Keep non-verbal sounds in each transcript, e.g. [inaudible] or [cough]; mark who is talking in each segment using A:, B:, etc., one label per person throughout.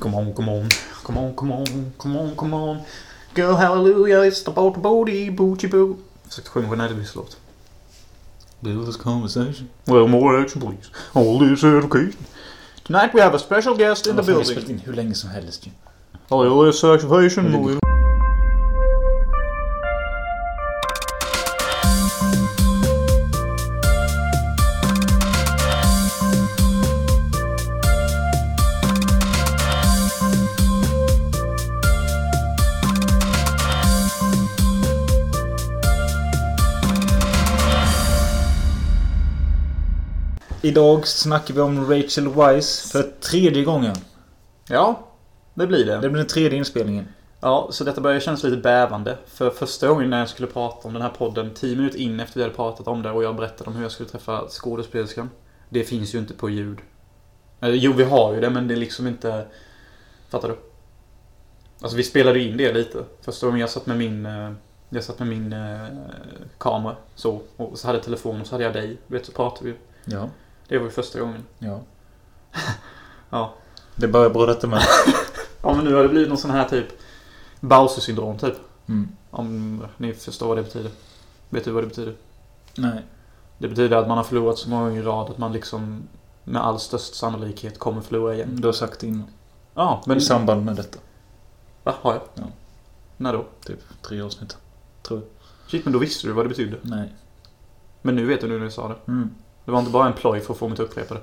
A: Come on, come on, come on, come on, come on, come on. Girl, hallelujah, it's about the body, booty boo. Dus ik gewoon vanuit de wisselot.
B: Build this conversation.
A: Well, more action, please. All is education. Tonight we have a special guest in the
B: Varför har vi
A: building.
B: spelat in hur länge som helst ju.
A: All is activation,
B: Ligger-
A: movie.
B: Idag snackar vi om Rachel Weisz för tredje gången.
A: Ja, det blir
B: Det blir den tredje inspelningen.
A: Ja, så detta börjar kännas lite bävande. För första gången när jag skulle prata om den här podden, 10 minuter in efter vi hade pratat om det och jag berättade om hur jag skulle träffa skådespelerskan. Det finns ju inte på ljud. Eller, jo, vi har ju det, men det är liksom inte... Fattar du? Alltså, vi spelade ju in det lite. Första gången jag satt med min... eh, Jag satt med min eh, kamera, så. Och så hade jag telefonen och så hade jag dig. Du vet, så pratade vi ju.
B: Ja.
A: Det var ju första gången.
B: Ja. [laughs]
A: Ja.
B: Det börjar bra detta med.
A: Ja, men nu har det blivit någon sån här typ... Bowser-syndrom, typ.
B: Mm.
A: Om ni förstår vad det betyder. Vet du vad det betyder?
B: Nej.
A: Det betyder att man har förlorat så många gånger i rad att man liksom med all störst sannolikhet kommer förlora igen.
B: Du har sagt det innan.
A: Ja, men...
B: I samband med detta.
A: Va? Har jag?
B: Ja.
A: När då?
B: Typ tre avsnitt. Tror jag.
A: Shit, men då visste du vad det betydde.
B: Nej.
A: Men nu vet du nu när du sa det.
B: Mm.
A: Det var inte bara en ploj för att få mig att upprepa det.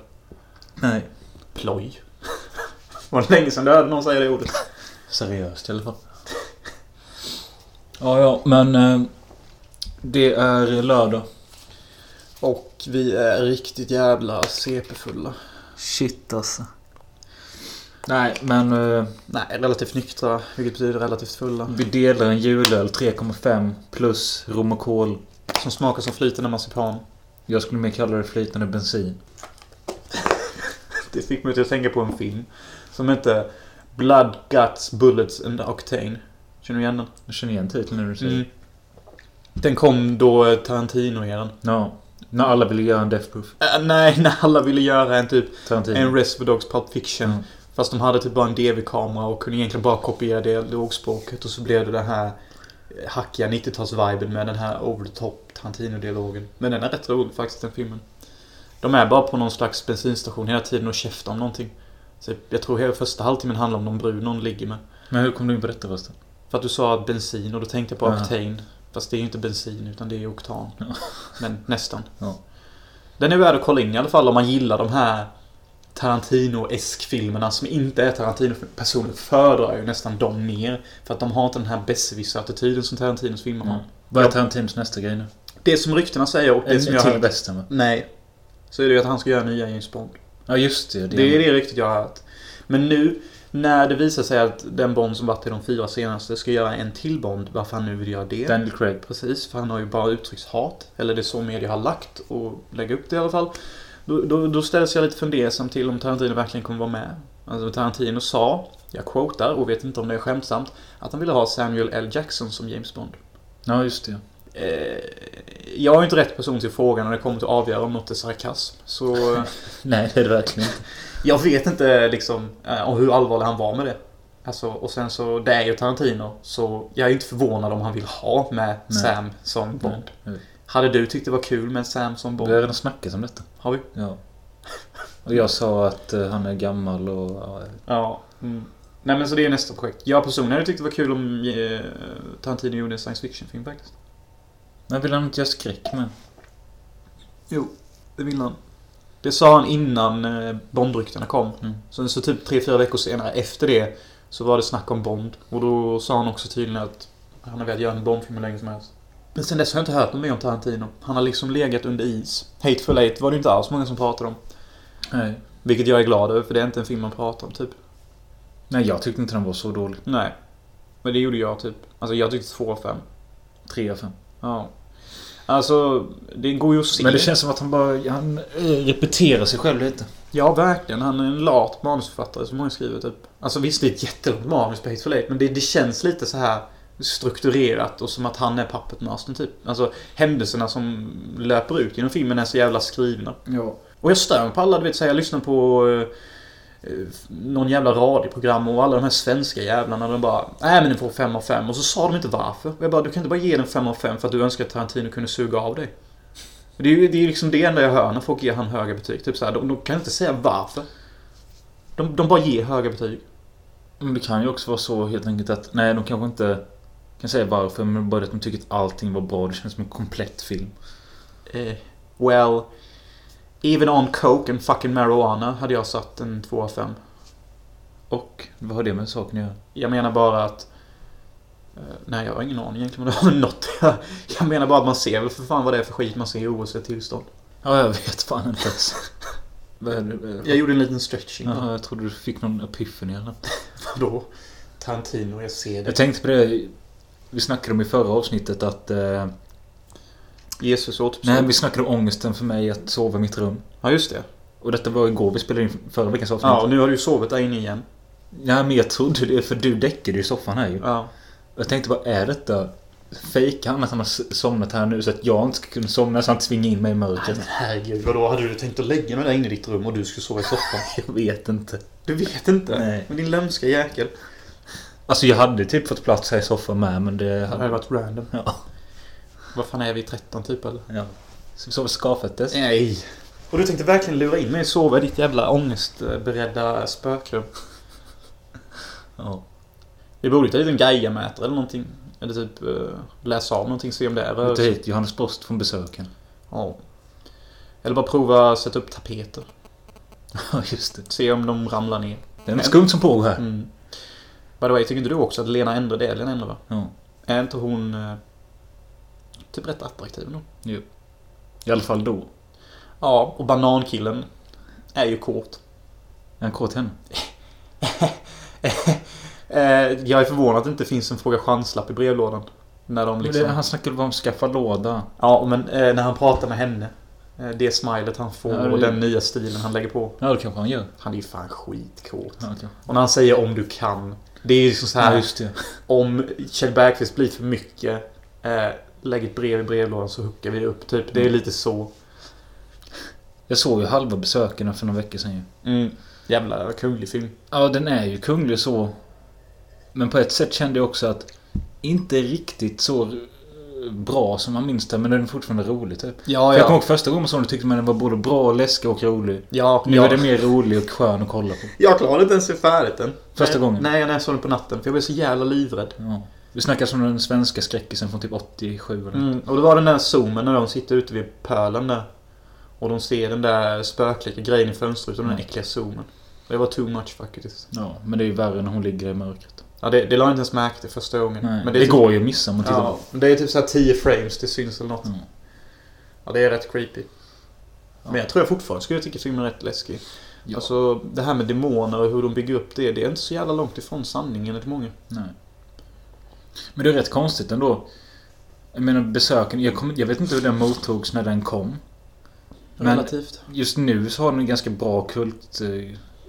B: Nej.
A: Ploj? var [laughs] det länge sedan du hörde någon säga det ordet?
B: Seriöst i alla fall. Ja, ja, men... eh, Det är lördag.
A: Och vi är riktigt jävla CP-fulla.
B: Shit alltså. Nej, men eh,
A: Nej, relativt nyktra, vilket betyder relativt fulla.
B: vi delar en julöl 3,5 plus rom och kol.
A: Som smakar som flytande marsipan.
B: Jag skulle mer kalla det flytande bensin.
A: Det fick mig till att tänka på en film som heter Blood, Guts, Bullets and Octane. Känner du igen den?
B: Jag känner igen titeln när du säger
A: Mm.
B: det.
A: Den kom då eh, Tarantino eran.
B: Ja. När alla ville göra en death proof.
A: Äh, nej, [laughs] när alla ville göra en typ
B: Tarantino.
A: en Reservoir Dogs Pulp Fiction.
B: Mm.
A: Fast de hade typ bara en DV-kamera och kunde egentligen bara kopiera dialogspråket och så blev det den här eh, hackiga 90-tals-viben med den här over the top Tarantino-dialogen. Men den är rätt rolig faktiskt, den filmen. De är bara på någon slags bensinstation hela tiden och käftar om någonting. Så jag tror hela första halvtimmen handlar om någon brud någon ligger med.
B: Men hur kom du in på detta förresten?
A: För att du sa att bensin och då tänkte jag på
B: Ja.
A: oktan. Fast det är ju inte bensin utan det är oktan.
B: Ja.
A: Men nästan.
B: Ja.
A: Den är värd att kolla in i alla fall om man gillar de här Tarantino-esk-filmerna som inte är tarantino Personligen föredrar ju nästan dem mer. För att de har inte den här besserwisser-attityden som Tarantinos filmer har.
B: Mm. Ja. Vad är Tarantinos nästa grej nu?
A: Det som ryktena säger och det
B: En
A: som jag har
B: till
A: hört.
B: västern va?
A: Nej. Så är det ju att han ska göra nya James Bond.
B: Ja just det. Det,
A: Det är det riktigt jag har hört. Men nu när det visar sig att den Bond som varit i de fyra senaste ska göra en till Bond, varför han nu vill göra det.
B: Daniel Craig.
A: Precis, för han har ju bara uttryckt hat. Eller det är så media har lagt och lägger upp det i alla fall. Då, då, då ställs jag lite fundersam till om Tarantino verkligen kommer vara med. Alltså Tarantino sa, jag quotar och vet inte om det är skämtsamt, att han ville ha Samuel L. Jackson som James Bond.
B: Ja just det.
A: Eh, jag är ju inte rätt person till frågan när det kommer till att avgöra om något är sarkasm. Så eh,
B: [laughs] Nej det är det verkligen inte.
A: [laughs] jag vet inte liksom eh, om hur allvarlig han var med det. Alltså, och sen så, det är ju Tarantino. Så jag är inte förvånad om han vill ha med
B: Nej.
A: Sam som Bond.
B: Nej.
A: Hade du tyckt det var kul med Sam som
B: Vi
A: Bond?
B: har redan snackat om detta.
A: Har vi?
B: Ja. [laughs] Och jag sa att eh, han är gammal och... ja,
A: Ja. Mm. Nej men så det är nästa projekt. Jag personligen hade tyckt det var kul om eh, Tarantino gjorde en science fiction-film faktiskt.
B: Men vill han inte göra skräck med?
A: Jo, det vill han. Det sa han innan eh, Bondryktena kom.
B: Mm.
A: Så, så typ tre fyra veckor senare efter det så var det snack om Bond. Och då sa han också tydligen att han har velat göra en Bond-film hur länge som helst. Men sen dess har jag inte hört något mer om Tarantino. Han har liksom legat under is. Hateful Eight var det ju inte alls många som pratade om.
B: Nej.
A: Vilket jag är glad över för det är inte en film man pratar om typ.
B: Nej, jag tyckte inte den var så dålig.
A: Nej. Men det gjorde jag typ. Alltså jag tyckte 2 av 5.
B: Tre av fem.
A: Ja. Alltså, det går ju att se.
B: Men det känns som att han bara... Han eh, repeterar sig själv lite.
A: Ja, verkligen. Han är en lat manusförfattare som många skriver typ. Alltså visst, det är ett jättelångt manus på Hateful Eight, men det, det känns lite så här strukturerat och som att han är puppetmastern typ. Alltså händelserna som löper ut genom filmen är så jävla skrivna.
B: Ja.
A: Och jag stör mig på alla, du vet, så här, jag lyssnar på eh, någon jävla radioprogram och alla de här svenska jävlarna de bara Nej men ni får 5 av 5 och så sa de inte varför. Och jag bara du kan inte bara ge den 5 av 5 för att du önskar att Tarantino kunde suga av dig. Det är ju det är ju liksom det enda jag hör när folk ger han höga betyg. Typ så här, de, de kan inte säga varför. De, de bara ger höga betyg.
B: Men det kan ju också vara så helt enkelt att nej, de kanske inte kan säga varför men bara att de tycker att allting var bra. Det känns som en komplett film.
A: Eh, well, even on coke and fucking marijuana hade jag satt en 2 av 5.
B: Och vad har det med saken att göra?
A: Jag menar bara att... eh, Nej, jag har ingen aning egentligen om det har [laughs] med något Jag menar bara att man ser väl för fan vad det är för skit man ser i oavsett tillstånd.
B: Ja, jag vet fan inte ens. [laughs] Vad är det?
A: Jag gjorde en liten stretching. [laughs]
B: Jaha, jag trodde du fick någon epiphany eller något.
A: Vadå? Tarantino, jag ser
B: Jag
A: det.
B: tänkte på det. Vi snackade om i förra avsnittet att... Eh,
A: Jesus återuppstod.
B: nej, vi snackade om ångesten för mig att sova i mitt rum.
A: Ja, just det.
B: Och detta var igår vi spelade in förra veckans avsnitt.
A: Ja, och nu har du ju sovit där inne igen.
B: Nej, men jag trodde det. För du däckade ju i soffan här ju.
A: Ja.
B: Jag tänkte bara, är detta fejkar han att han har s- somnat här nu så att jag inte ska kunna somna så han tvingar in mig i mörkret?
A: herregud. Vadå, hade du tänkt att lägga mig där inne i ditt rum och du skulle sova i soffan?
B: Jag vet inte.
A: [laughs] Du vet inte.
B: Nej.
A: Men din lömska jäkel.
B: Alltså jag hade typ fått plats här i soffan med men det...
A: Det
B: Hade...
A: hade varit random.
B: Ja.
A: Vad fan är vi, 13 typ eller?
B: ja. Så vi sov skavfettes.
A: Nej. Och du tänkte verkligen lura in mig och sova i ditt jävla ångestberedda spökrum.
B: Ja.
A: Vi borde ta hit en Gaia-mätare eller någonting. Eller typ eh, läsa av någonting, se om det är
B: Vi tar
A: rörelse.
B: hit Johannes Post från besöken. [laughs]
A: Ja. Eller bara prova att sätta upp tapeter.
B: Ja, just det.
A: Se om de ramlar ner.
B: Det är något skumt som pågår här.
A: Mm. By the way, tycker inte du också att Lena Endre, det är Lena Endre va?
B: Ja.
A: Är inte hon eh, typ rätt attraktiv nog?
B: I alla fall då.
A: Ja, och banankillen är ju kort. [laughs]
B: Är han kåt henne?
A: Eh, jag är förvånad att det inte finns en fråga chanslapp i brevlådan. När de
B: Men
A: liksom...
B: det- Han snackade bara om skaffa låda.
A: Ja, men eh, när han pratar med henne. Eh, det smilet han får
B: Ja, det är-
A: och den nya stilen han lägger på.
B: Ja, det kanske han gör.
A: Han är ju fan skitkåt.
B: Ja, okay.
A: Och när han säger om du kan. Det är ju liksom så här.
B: ja just det.
A: Om Kjell Bergqvist blir för mycket. Eh, lägg ett brev i brevlådan så hookar vi upp. Typ.
B: Mm.
A: Det är lite så.
B: Jag såg ju halva besökarna för några veckor sedan ju.
A: Mm. Jävla kunglig film.
B: Ja, den är ju kunglig så. Men på ett sätt kände jag också att inte riktigt så eh, bra som man minns den, men den är fortfarande rolig typ.
A: Ja,
B: För jag kommer ihåg första gången man såg den tyckte man den var både bra, läskig och rolig.
A: Ja,
B: Nu
A: ja.
B: är den mer rolig och skön att kolla på.
A: Jag klarade inte ens se färdigt den.
B: Första
A: nej,
B: gången.
A: Nej, när jag såg den på natten. För jag blev så jävla livrädd.
B: Ja. Vi snackar som den svenska skräckisen från typ 87 eller
A: Mm, och det var den där zoomen när de sitter ute vid pölen där. Och de ser den där spöklika grejen i fönsterrutan, den
B: Mm.
A: äckliga zoomen. Det var too much faktiskt.
B: Ja, men det är ju värre när hon ligger i mörkret.
A: Ja, det, det la jag inte ens märke till första gången.
B: Nej,
A: Men
B: det
A: är typ,
B: går ju att missa om man tittar
A: ja, men det är typ såhär 10 frames det syns eller något.
B: Mm.
A: Ja, det är rätt creepy.
B: Ja.
A: Men jag tror jag fortfarande skulle tycka filmen är rätt läskig.
B: Ja.
A: Alltså, det här med demoner och hur de bygger upp det, det är inte så jävla långt ifrån sanningen enligt många.
B: Nej. Men det är rätt konstigt ändå. Jag menar besöken, jag, kommer- jag vet inte hur den mottogs när den kom. Men-
A: Relativt.
B: Just nu så har den en ganska bra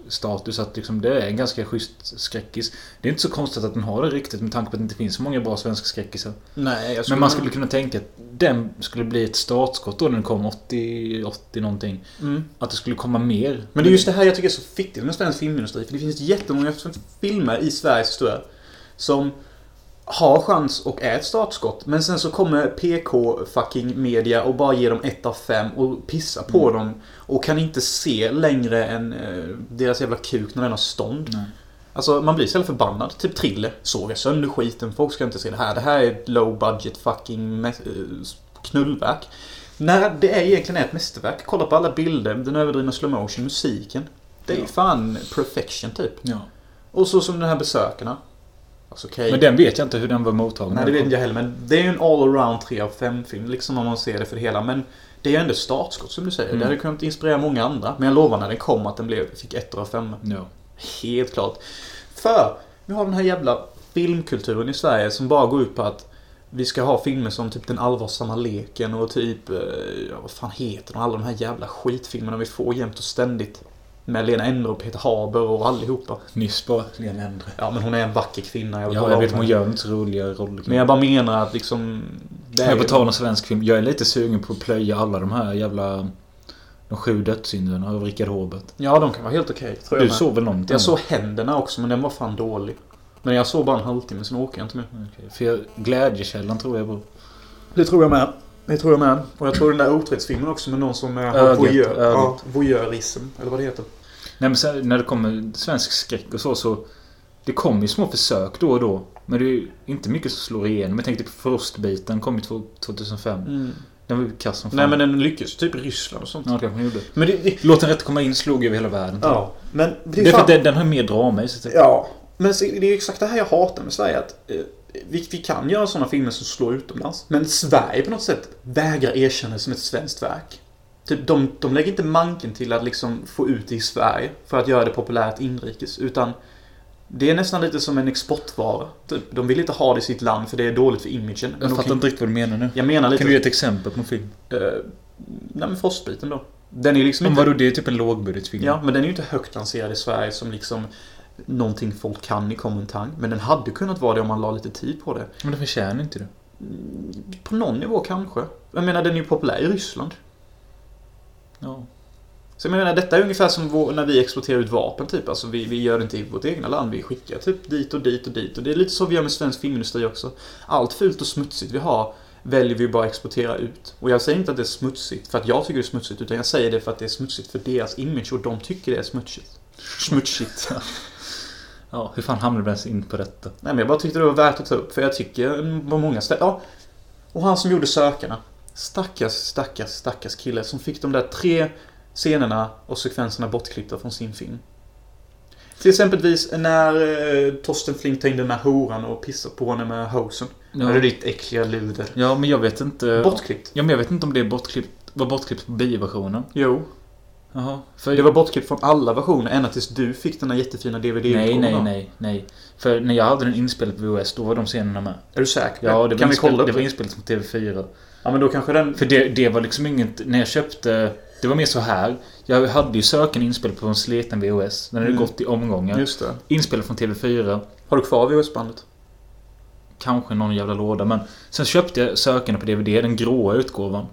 B: kultstatus. Att liksom det är en ganska schysst skräckis. Det är inte så konstigt att den har det riktigt med tanke på att det inte finns så många bra svenska skräckisar.
A: Nej, jag
B: Men man skulle kunna tänka att den skulle bli ett startskott då när den kom 80, 80 någonting.
A: Mm.
B: Att det skulle komma mer.
A: Men det är just det här jag tycker är så fittigt med svensk filmindustri. För det finns jättemånga filmer i Sveriges historia som har chans och är ett startskott. Men sen så kommer PK-fucking media och bara ger dem ett av fem och pissar på dem. Och kan inte se längre än eh, deras jävla kuk när den har stånd.
B: Nej.
A: Alltså man blir så jävla förbannad. Typ Trille. Såga sönder skiten. Folk ska inte se det här. Det här är ett low budget fucking mä- eh, knullverk. När det är egentligen ett mästerverk. Kolla på alla bilder, den överdrivna slow motion, musiken. Det är
B: Ja.
A: fan perfection typ.
B: Ja.
A: Och så som de här besökarna. Alltså okej.
B: Men den vet jag inte hur den var mottagen.
A: Nej det vet inte jag heller men det är ju en all around 3 av 5 film liksom om man ser det för det hela. Men det är ju ändå startskott som du säger.
B: Mm.
A: Det hade kunnat inspirera många andra. Men jag lovar när den kom att den blev, fick 1 av 5.
B: Ja.
A: Helt klart. För vi har den här jävla filmkulturen i Sverige som bara går ut på att vi ska ha filmer som typ Den allvarsamma leken och typ, eh, ja, vad fan heter de? Alla de här jävla skitfilmerna vi får jämt och ständigt. Med Lena Endre och Peter Haber och allihopa.
B: Nyss bara Lena Endre.
A: Ja men hon är en vacker kvinna. Jag vill
B: Ja,
A: hålla
B: jag
A: om
B: vet hon
A: henne.
B: gör inte så roliga roller.
A: Men jag bara menar att liksom... Det är
B: Men på
A: ju-
B: tal om svensk film. Jag är lite sugen på att plöja alla de här jävla... De sju dödssynderna av Richard Håbert.
A: Ja, de kan vara helt okej. tror jag
B: Du
A: med.
B: såg väl någonting?
A: Jag såg händerna också, men den var fan dålig. Men jag såg bara en halvtimme, sen åker jag inte mer.
B: Okej, För jag, glädjekällan tror jag på.
A: Det tror jag med. Det tror jag med. Och jag tror den där otrohetsfilmen också med någon som är
B: Ögat,
A: voyeur. Ja,
B: ögat.
A: voyeurism, eller vad det heter.
B: Nej men sen, när det kommer svensk skräck och så så... Det kommer ju små försök då och då. Men det är ju inte mycket som slår igenom. Jag tänkte på Frostbiten kom ju två- 2005. Den var ju kass som fan.
A: Mm. Nej men den lyckas typ i Ryssland och sånt.
B: Ja, det kanske den gjorde.
A: Men det, det,
B: Låt den rätt komma in slog över hela världen.
A: ja, men det,
B: Det
A: är
B: är för
A: fan,
B: att den, den har mer drama i sig. typ.
A: Ja, men se, det är ju exakt det här jag hatar med Sverige. Att, eh, vi, vi kan göra sådana filmer som slår utomlands. Men Sverige på något sätt vägrar erkänna det som ett svenskt verk. Typ, de, de lägger inte manken till att liksom få ut det i Sverige för att göra det populärt inrikes. Utan det är nästan lite som en exportvara. Typ, de vill inte ha det i sitt land för det är dåligt för imagen. Men
B: Jag
A: då
B: fattar
A: kan-
B: inte riktigt vad du menar nu.
A: jag menar lite...
B: Kan du ge ett exempel på en film?
A: eh, nej men Frostbiten då. Den är liksom
B: Men
A: inte...
B: vadå, det är typ en lågbudgetfilm.
A: Ja, men den är ju inte högt lanserad i Sverige som liksom någonting folk kan i common tang. Men den hade kunnat vara det om man la lite tid på det.
B: Men den förtjänar inte det.
A: På någon nivå kanske. Jag menar, den är ju populär i Ryssland.
B: Ja.
A: Så jag menar, detta är ungefär som vår, när vi exporterar ut vapen typ. Alltså vi, vi gör det inte i vårt egna land. Vi skickar typ dit och dit och dit. Och det är lite så vi gör med svensk filmindustri också. Allt fult och smutsigt vi har väljer vi bara att exportera ut. Och jag säger inte att det är smutsigt för att jag tycker det är smutsigt. Utan jag säger det för att det är smutsigt för deras image och de tycker det är smutsigt. Smutsigt.
B: Ja, hur fan hamnade vi ens in på detta?
A: Nej men jag bara tyckte det var värt att ta upp för jag tycker på många ställen, ja. Och han som gjorde Sökarna. Stackars, stackars, stackars kille som fick de där tre scenerna och sekvenserna bortklippta från sin film. Till exempelvis när eh, Torsten Flink tar in den här horan och pissar på henne med hosen. Ja. Är det ditt äckliga luder?
B: ja men jag vet inte...
A: Bortklippt.
B: Ja, men jag vet inte om det är bortklippt, var bortklippt på bioversionen.
A: Jo.
B: Jaha. För...
A: Eh, Det var bortklippt från alla versioner ända tills du fick den här jättefina dvd
B: Nej, nej, nej, nej. För när jag hade den inspelad på VHS, då var de scenerna med.
A: Är du säker? på det?
B: Ja, det var,
A: kan vi
B: inspel-
A: kolla upp
B: det
A: det?
B: var inspelat på TV4.
A: Ja, men då kanske den...
B: För det, det var liksom inget... När jag köpte... Det var mer så här. Jag hade ju söken inspelad på en sliten VHS. Den hade
A: Mm.
B: gått i omgångar.
A: Just det.
B: Inspelad från TV4.
A: Har du kvar VHS-bandet?
B: Kanske någon jävla låda men Sen köpte jag sökarna på DVD, den gråa utgåvan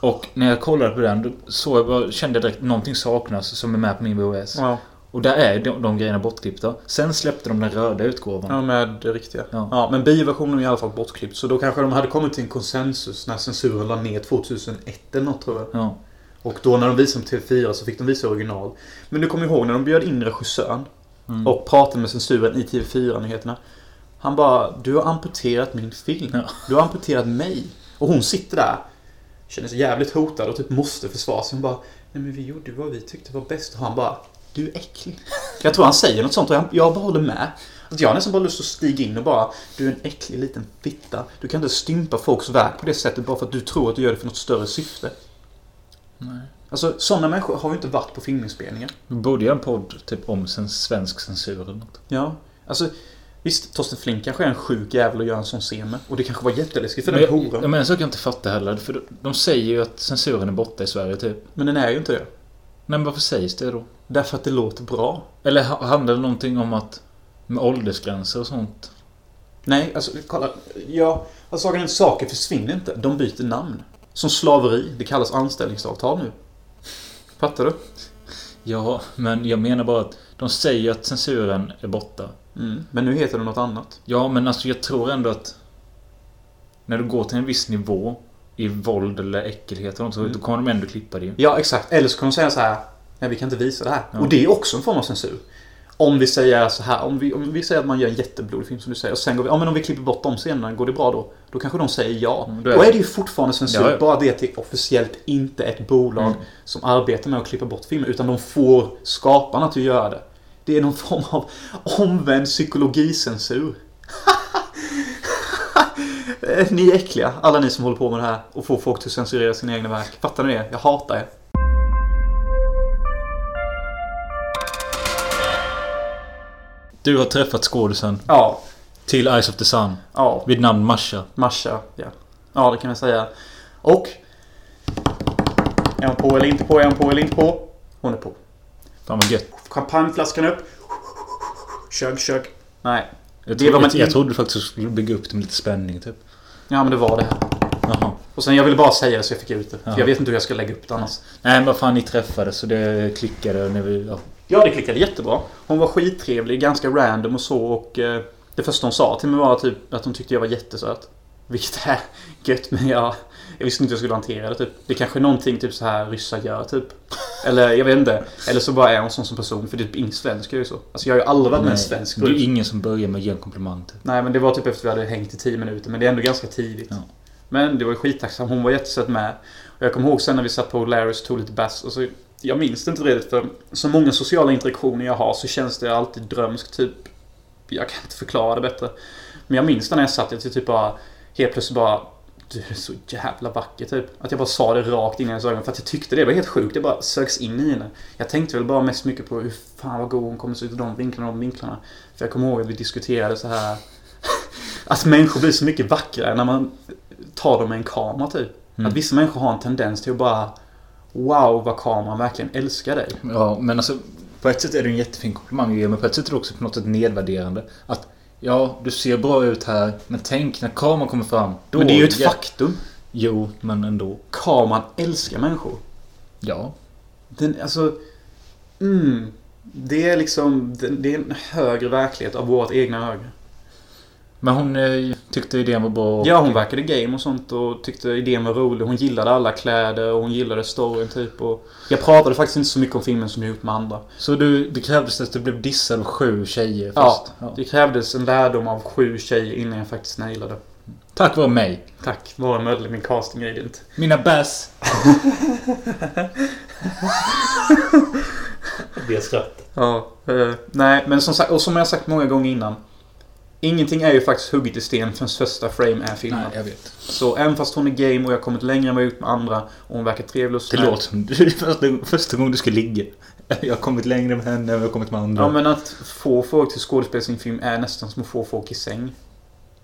B: Och när jag kollade på den då såg jag, bara- kände jag direkt någonting saknas som är med på min VHS
A: Ja.
B: Och där är de, de grejerna bortklippta Sen släppte de den röda utgåvan
A: Ja, med det riktiga. Ja.
B: Ja.
A: men bioversionen är i alla fall bortklippt. Så då kanske de hade kommit till en konsensus när censuren la ner 2001 eller något tror jag.
B: Ja.
A: Och då när de visade på TV4 så fick de visa original. Men du kommer ihåg när de bjöd in regissören
B: Mm.
A: och pratade med censuren i TV4-nyheterna. Han bara, du har amputerat min film.
B: Ja.
A: Du har amputerat mig. Och hon sitter där, känner sig jävligt hotad och typ måste försvara sig. Hon bara, nej men vi gjorde vad vi tyckte var bäst. Och han bara, du är äcklig. Jag tror han säger något sånt och jag, jag bara håller med. Att jag har nästan bara lust att stiga in och bara, du är en äcklig liten fitta. Du kan inte stympa folks verk på det sättet bara för att du tror att du gör det för något större syfte.
B: Nej.
A: Alltså sådana människor har ju inte varit på filminspelningar.
B: Vi borde göra en podd typ om sen svensk censur eller något
A: Ja. Alltså visst, Torsten Flink kanske är en sjuk jävel att göra en sån scen med. Och det kanske var jätteläskigt för
B: men,
A: den
B: jag,
A: horan.
B: men en sak jag inte fattar heller för de, de säger ju att censuren är borta i Sverige typ
A: Men den är ju inte det.
B: Nej men varför sägs det då?
A: Därför att det låter bra.
B: Eller ha- handlar det någonting om att Med åldersgränser och sånt?
A: Nej, alltså kolla. Ja, alltså saken är att saker försvinner inte. De byter namn. Som slaveri. Det kallas anställningsavtal nu. Fattar du?
B: Ja, men jag menar bara att de säger att censuren är borta.
A: Mm. Men nu heter det något annat.
B: Ja, men alltså jag tror ändå att när du går till en viss nivå i våld eller äckelhet eller något, så
A: Mm.
B: då kommer de ändå klippa det ju.
A: Ja, exakt. Eller så kan de säga så här. Nej, vi kan inte visa det här.
B: Ja.
A: Och det är också en form av censur. Om vi säger så här, om vi, om vi säger att man gör en jätteblodig film som du säger och sen går vi, ja men om vi klipper bort de scenerna, går det bra då? Då kanske de säger ja.
B: Mm,
A: då,
B: då
A: är...
B: är-
A: det ju fortfarande censur,
B: Ja, ja.
A: bara det att det är officiellt inte ett bolag
B: Mm.
A: som arbetar med att klippa bort filmer, utan de får skaparna att göra det. Det är någon form av omvänd psykologicensur. [laughs] Eh, Ni är äckliga, alla ni som håller på med det här och får folk att censurera sina egna verk. Fattar ni det? Jag hatar er.
B: Du har träffat skådisen
A: Ja,
B: till Eyes of the Sun
A: ja.
B: vid namn Masha.
A: Masha, ja. Ja, det kan jag säga. Och... Är hon på eller inte på? Är hon på eller inte på? Hon är på.
B: Fan vad gött.
A: Champagneflaskan upp. Kög, kög. Nej.
B: Jag,
A: Det
B: tro-
A: var man-
B: jag, jag trodde faktiskt att du skulle bygga upp det med lite spänning typ.
A: Ja, men det var det här.
B: Jaha.
A: Och sen jag ville bara säga det så jag fick ut det. För
B: Ja.
A: jag vet inte hur jag ska lägga upp det annars.
B: Nej, men vad fan, ni träffades och det klickade och ni... Ja.
A: Ja, det klickade jättebra. Hon var skittrevlig, ganska random och så och eh, det första hon sa till mig var typ att hon tyckte jag var jättesöt. [laughs] Vilket är gött men jag, jag visste inte hur jag skulle hantera det typ. Det är kanske är någonting typ så här ryssar gör typ. Eller jag vet inte. Eller så bara är hon sån som person för det är typ ingen svensk gör ju så. Alltså jag har ju aldrig varit med en
B: Nej,
A: svensk
B: Det är
A: brud.
B: ju ingen som börjar med att ge en komplimang. Typ.
A: Nej men det var typ efter vi hade hängt i 10 minuter men det är ändå ganska tidigt.
B: Ja.
A: Men det var ju skittacksam, hon var jättesöt med. Och jag kommer ihåg sen när vi satt på Larrys tog lite bass och så Jag minns det inte riktigt för så många sociala interaktioner jag har så känns det alltid drömskt typ Jag kan inte förklara det bättre. Men jag minns det när jag satt, jag typ bara Helt plötsligt bara Du är så jävla vacker typ. Att jag bara sa det rakt in i hennes ögon för att jag tyckte det var helt sjukt. Det bara sögs in i henne. Jag tänkte väl bara mest mycket på hur fan vad god hon kommer se ut i de vinklarna och de vinklarna. För jag kommer ihåg att vi diskuterade så här Att Alltså, människor blir så mycket vackrare när man tar dem med en kamera typ.
B: Mm.
A: Att vissa människor har en tendens till att bara Wow vad kameran verkligen älskar dig.
B: Ja, men alltså på ett sätt är det en jättefin komplimang att ge, men på ett sätt är det också på något sätt nedvärderande. Att ja, du ser bra ut här, men tänk när kameran kommer fram. Då
A: Men det är ju ett
B: Ja.
A: faktum.
B: Jo, men ändå.
A: Kameran älskar människor.
B: Ja.
A: Den, alltså... Mm, det är liksom... Det, det är en högre verklighet av vårt egna öga.
B: Men hon eh, tyckte idén var bra. och-
A: Ja, hon verkade game och sånt och tyckte idén var rolig. Hon gillade alla kläder och hon gillade storyn typ. Och jag pratade faktiskt inte så mycket om filmen som jag gjort med andra.
B: Så du, det krävdes att du blev dissad av sju tjejer
A: Ja,
B: först? Ja.
A: Det krävdes en lärdom av sju tjejer innan jag faktiskt nailade.
B: Tack vare mig.
A: Tack vare Mödle, min casting agent.
B: Mina bass.
C: Det skrattet.
A: Ja, eh, nej men som sagt, och som jag sagt många gånger innan. Ingenting är ju faktiskt hugget i sten förrän första frame är filmad.
B: Nej, jag vet.
A: Så även fast hon är game och jag har kommit längre än vad jag gjort med andra och hon verkar trevlig och
B: Det
A: snäll.
B: låter som [laughs] det är första, första gången du ska ligga. Jag har kommit längre med henne än jag har kommit med andra.
A: Ja men att få folk till skådespel i sin film är nästan som att få folk i säng.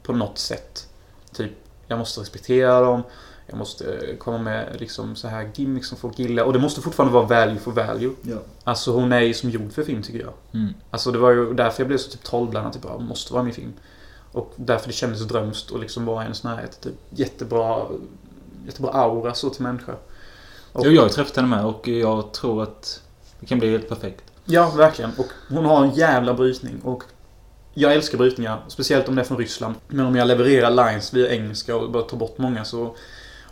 A: På något sätt. Typ, jag måste respektera dem. Jag måste eh, komma med liksom så här gimmicks som folk gillar. Och det måste fortfarande vara value for value.
B: Ja.
A: Alltså hon är ju som gjord för film tycker jag.
B: Mm.
A: Alltså det var ju därför jag blev så typ trollblandad. Typ, jag måste vara med i film. Och därför det kändes drömskt och liksom vara i hennes närhet. Typ, jättebra, jättebra aura så till människa. Och-
B: Jo, jag har träffat henne med och jag tror att det kan bli helt perfekt.
A: Ja, verkligen. Och hon har en jävla brytning. Och jag älskar brytningar, speciellt om det är från Ryssland. Men om jag levererar lines via engelska och bara tar bort många så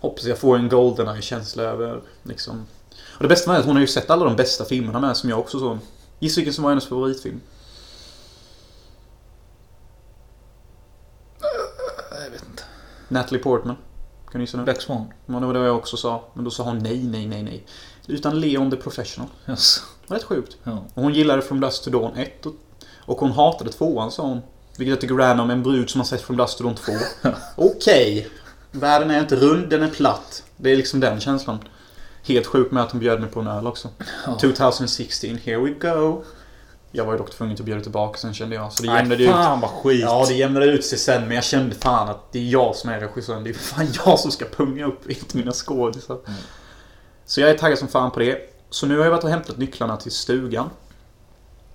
A: hoppas jag får en Goldeneye-känsla över liksom... Och det bästa med det är att hon har ju sett alla de bästa filmerna med som jag också såg. Gissa vilken som var hennes favoritfilm?
B: Jag vet inte.
A: Natalie Portman. Kan ni gissa nu?
B: Black Swan.
A: Ja, det var det jag också sa. Men då sa hon nej, nej, nej, nej. Utan Leon the Professional.
B: Yes.
A: Rätt sjukt.
B: Ja.
A: Och hon gillade From Dust to Dawn 1 och, och hon hatade tvåan sa hon. Vilket jag tycker är random, en brud som har sett From Dust to
B: [laughs]
A: Dawn 2. Okej. Världen är inte rund, den är platt. Det är liksom den känslan. Helt sjukt med att hon bjöd mig på en öl också.
B: Ja.
A: 2016, here we go. Jag var ju dock tvungen att bjuda tillbaka sen kände jag. Så det
B: Nej,
A: jämnade ut.
B: fan vad skit.
A: Ja, det jämnade ut sig sen men jag kände fan att det är jag som är regissören. Det är fan [laughs] jag som ska punga upp, inte mina skådisar.
B: Mm.
A: Så jag är taggad som fan på det. Så nu har jag varit och hämtat nycklarna till stugan.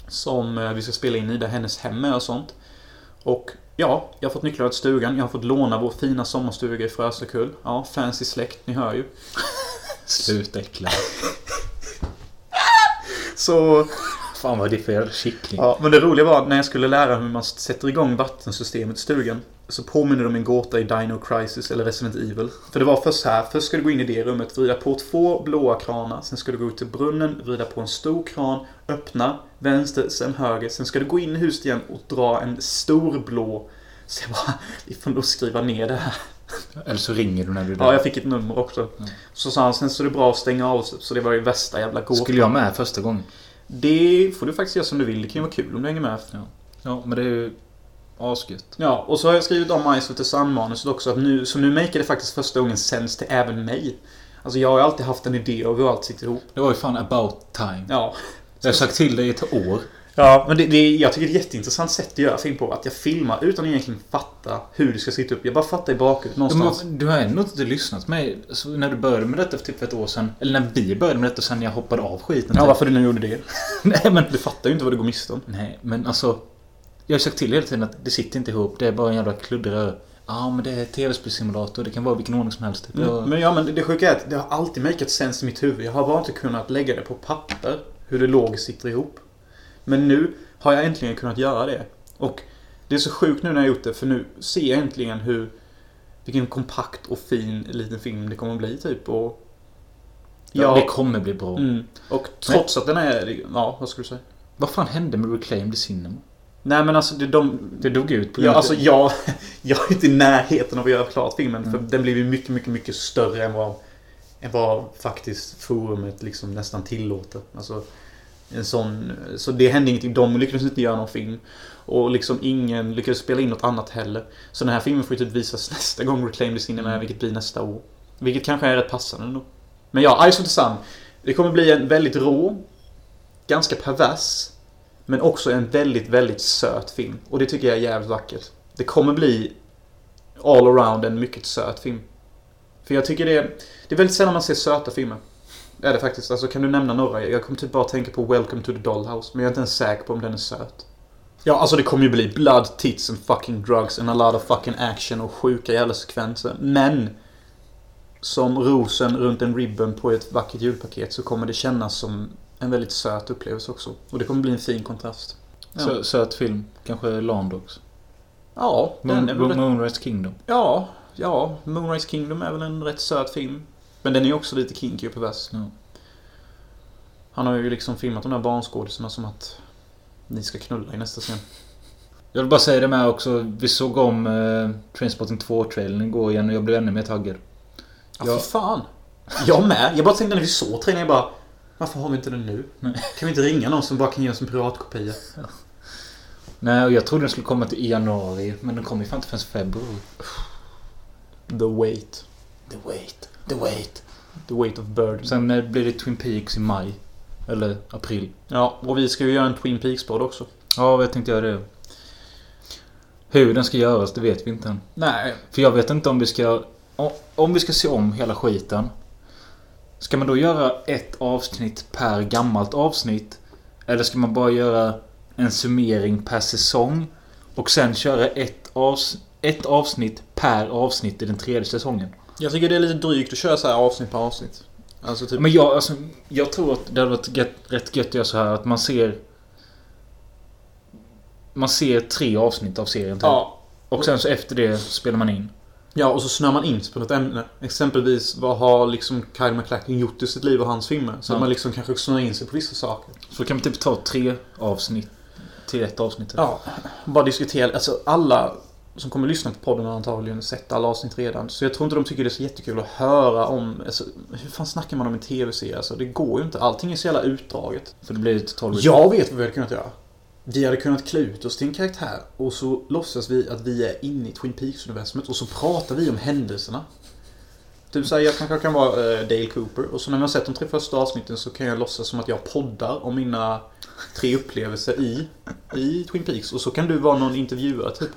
A: Som eh, vi ska spela in i, där hennes hem är och sånt. Och ja, jag har fått nycklarna till stugan. Jag har fått låna vår fina sommarstuga i Frösekull. Ja, fancy släkt, ni hör ju.
B: Sluta äckla.
A: Så
B: [laughs] Fan vad det är för jävla kyckling.
A: Ja, men det roliga var att när jag skulle lära hur man sätter igång vattensystemet i stugan så påminner de en gåta i Dino Crisis eller Resident Evil. För det var först här, först ska du gå in i det rummet, vrida på två blåa kranar, sen ska du gå ut till brunnen, vrida på en stor kran, öppna, vänster, sen höger, sen ska du gå in i huset igen och dra en stor blå. Så jag bara, vi får nog skriva ner det här.
B: Eller så ringer du när du är
A: Ja, jag fick ett nummer också. Så sa han, sen så är det bra att stänga av sig, så det var ju värsta jävla gåtan.
B: Skulle jag med första gången?
A: Det får du faktiskt göra som du vill, det kan ju vara kul om du hänger med.
B: Ja, men det är ju asgött.
A: Ja, och så har jag skrivit om Ice of the Sun-manuset också. Att nu, så nu maker det faktiskt första gången sens till även mig. Alltså jag har ju alltid haft en idé om hur allt sitter ihop.
B: Det var ju fan about time.
A: Ja.
B: Jag har sagt till dig i ett år.
A: Ja, men det, det, jag tycker det är ett jätteintressant sätt att göra film på. Att jag filmar utan att egentligen fatta hur det ska sitta upp. Jag bara fattar i bakhuvudet någonstans.
B: Du, du har ändå inte lyssnat på mig. Så när du började med detta för typ ett år sedan. Eller när vi började med detta sen jag hoppade av skiten. typ.
A: Ja, varför du nu gjorde det?
B: Nej, men...
A: Du fattar ju inte vad du går miste om.
B: Nej, men alltså. Jag har sagt till hela tiden att det sitter inte ihop. Det är bara en jävla kluddrör. Ja, men det är tv-spelssimulator. Det kan vara vilken ordning som helst. Typ.
A: Mm.
B: Jag,
A: Men ja, men det sjuka är att det har alltid makat sense i mitt huvud. Jag har bara inte kunnat lägga det på papper. Hur det logiskt sitter ihop. Men nu har jag äntligen kunnat göra det. Och det är så sjukt nu när jag gjort det, för nu ser jag äntligen hur... Vilken kompakt och fin liten film det kommer bli, typ. Och...
B: ja. Det
A: Ja.
B: kommer bli bra.
A: Mm. Och trots att den är... Ja, vad skulle du säga?
B: Vad fan hände med Reclaimed Cinema?
A: Nej, men alltså, det, de...
B: Det dog ut på
A: Ja, [laughs]
B: grund av-
A: alltså jag, jag är inte i närheten av att göra klart filmen. För
B: Mm.
A: den blev ju mycket, mycket, mycket större än vad, än vad faktiskt forumet liksom nästan tillåter. Alltså, en sån, så det hände ingenting. De lyckades inte göra någon film. Och liksom ingen lyckades spela in något annat heller. Så den här filmen får ju typ visas [laughs] nästa gång Reclaimed is inne med, vilket blir nästa år. Vilket kanske är rätt passande ändå. Men ja, Ice of the Sun. Det kommer bli en väldigt rå, ganska pervers, men också en väldigt, väldigt söt film. Och det tycker jag är jävligt vackert. Det kommer bli all around en mycket söt film. För jag tycker det är, det är väldigt sällan man ser söta filmer. Är det faktiskt. Alltså kan du nämna några? Jag kommer typ bara tänka på Welcome to the Dollhouse. Men jag är inte ens säker på om den är söt. Ja, alltså det kommer ju bli blood, tits and fucking drugs and a lot of fucking action och sjuka jävla sekvenser. Men! Som rosen runt en ribbon på ett vackert julpaket så kommer det kännas som en väldigt söt upplevelse också. Och det kommer bli en fin kontrast. Ja,
B: Sö- Söt film. Kanske Landox.
A: ja den
B: Moon,
A: är väl rätt
B: Moonrise Kingdom.
A: Ja, ja. Moonrise Kingdom är väl en rätt söt film. Men den är ju också lite kinky och pervers.
B: Ja.
A: Han har ju liksom filmat de där barnskådisarna som att ni ska knulla i nästa scen.
B: Jag vill bara säga det med också. Vi såg om eh, Trainspotting 2-trailern igår igen och jag blev ännu mer taggad. Ja.
A: Ja, för fan. Jag med. Jag bara tänkte när vi såg trailern, jag bara... Varför har vi inte den nu?
B: Nej.
A: Kan vi inte ringa någon som bara kan ge oss en piratkopia?
B: Nej, och jag trodde den skulle komma till i januari. Men den kom ju fan inte förrän i februari.
A: The Wait.
B: The wait. The wait.
A: The Wait of Bird.
B: Sen eh, blir det Twin Peaks i maj. Eller april.
A: Ja, och vi ska ju göra en Twin Peaks-podd också.
B: Ja, jag tänkte göra det. Hur den ska göras, det vet vi inte än.
A: Nej.
B: För jag vet inte om vi ska... o- Om vi ska se om hela skiten. Ska man då göra ett avsnitt per gammalt avsnitt? Eller ska man bara göra en summering per säsong? Och sen köra ett, avs ett avsnitt per avsnitt i den tredje säsongen?
A: Jag tycker det är lite drygt att köra så här avsnitt på avsnitt. Alltså typ...
B: Men jag, alltså, jag tror att det hade varit gött, rätt gött att göra så här att man ser... Man ser tre avsnitt av serien typ.
A: ja,
B: Och sen så efter det spelar man in.
A: Ja, och så snör man in sig på något ämne. Exempelvis, vad har liksom Kyle MacLachlan gjort i sitt liv och hans filmer? Så
B: Ja.
A: att man liksom kanske snör in sig på vissa saker.
B: Så kan man typ ta tre avsnitt till ett avsnitt. typ.
A: Ja, bara diskutera. Alltså alla som kommer lyssna på podden har antagligen sett alla avsnitt redan. Så jag tror inte de tycker det är så jättekul att höra om... Alltså, hur fan snackar man om en tv-serie? Alltså, det går ju inte. Allting är så jävla utdraget.
B: För det blir ju totalt...
A: Jag vet vad vi hade kunnat göra. Vi hade kunnat klä ut oss till en karaktär och så låtsas vi att vi är inne i Twin Peaks-universumet och så pratar vi om händelserna. Typ såhär, jag kanske kan vara eh, Dale Cooper och så när man har sett de tre första avsnitten så kan jag låtsas som att jag poddar om mina tre upplevelser i, i Twin Peaks och så kan du vara någon intervjuare typ.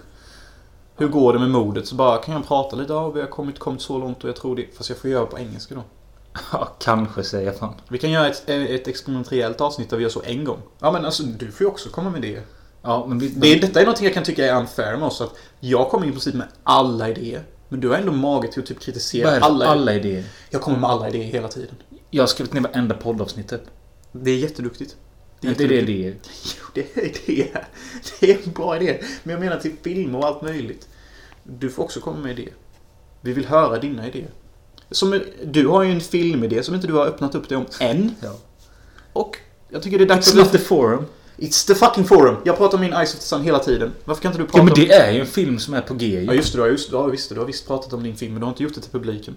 A: Hur går det med mordet? Så bara kan jag prata lite, ja vi har kommit, kommit så långt och jag tror det. Fast jag får göra på engelska då.
B: [laughs] Ja, kanske säger jag fan.
A: Vi kan göra ett, ett experimentellt avsnitt där vi gör så en gång. Ja men alltså du får ju också komma med det.
B: Ja, men vi...
A: Det, detta är någonting jag kan tycka är unfair med oss. Att jag kommer i princip med alla idéer. Men du har ändå mage till att typ kritisera
B: Vad är det för
A: alla,
B: alla idéer?
A: Jag kommer med alla idéer hela tiden.
B: Jag har skrivit ner varenda poddavsnitt typ.
A: Det är jätteduktigt.
B: Det är inte det idéer.
A: Jo, det är [laughs] idéer. Det är en bra idé. Men jag menar till filmer och allt möjligt. Du får också komma med idéer. Vi vill höra dina idéer. Som, du har ju en filmidé som inte du har öppnat upp dig om än.
B: Ja.
A: Och jag tycker det är dags
B: It's not the forum.
A: It's the fucking forum! Jag pratar om min Ice of the Sun hela tiden. Varför kan inte du prata
B: Ja, men
A: om...
B: det är ju en film som är på G ju.
A: Ja just det, du har, just, ja, visst, det, du har visst pratat om din film men du har inte gjort det till publiken.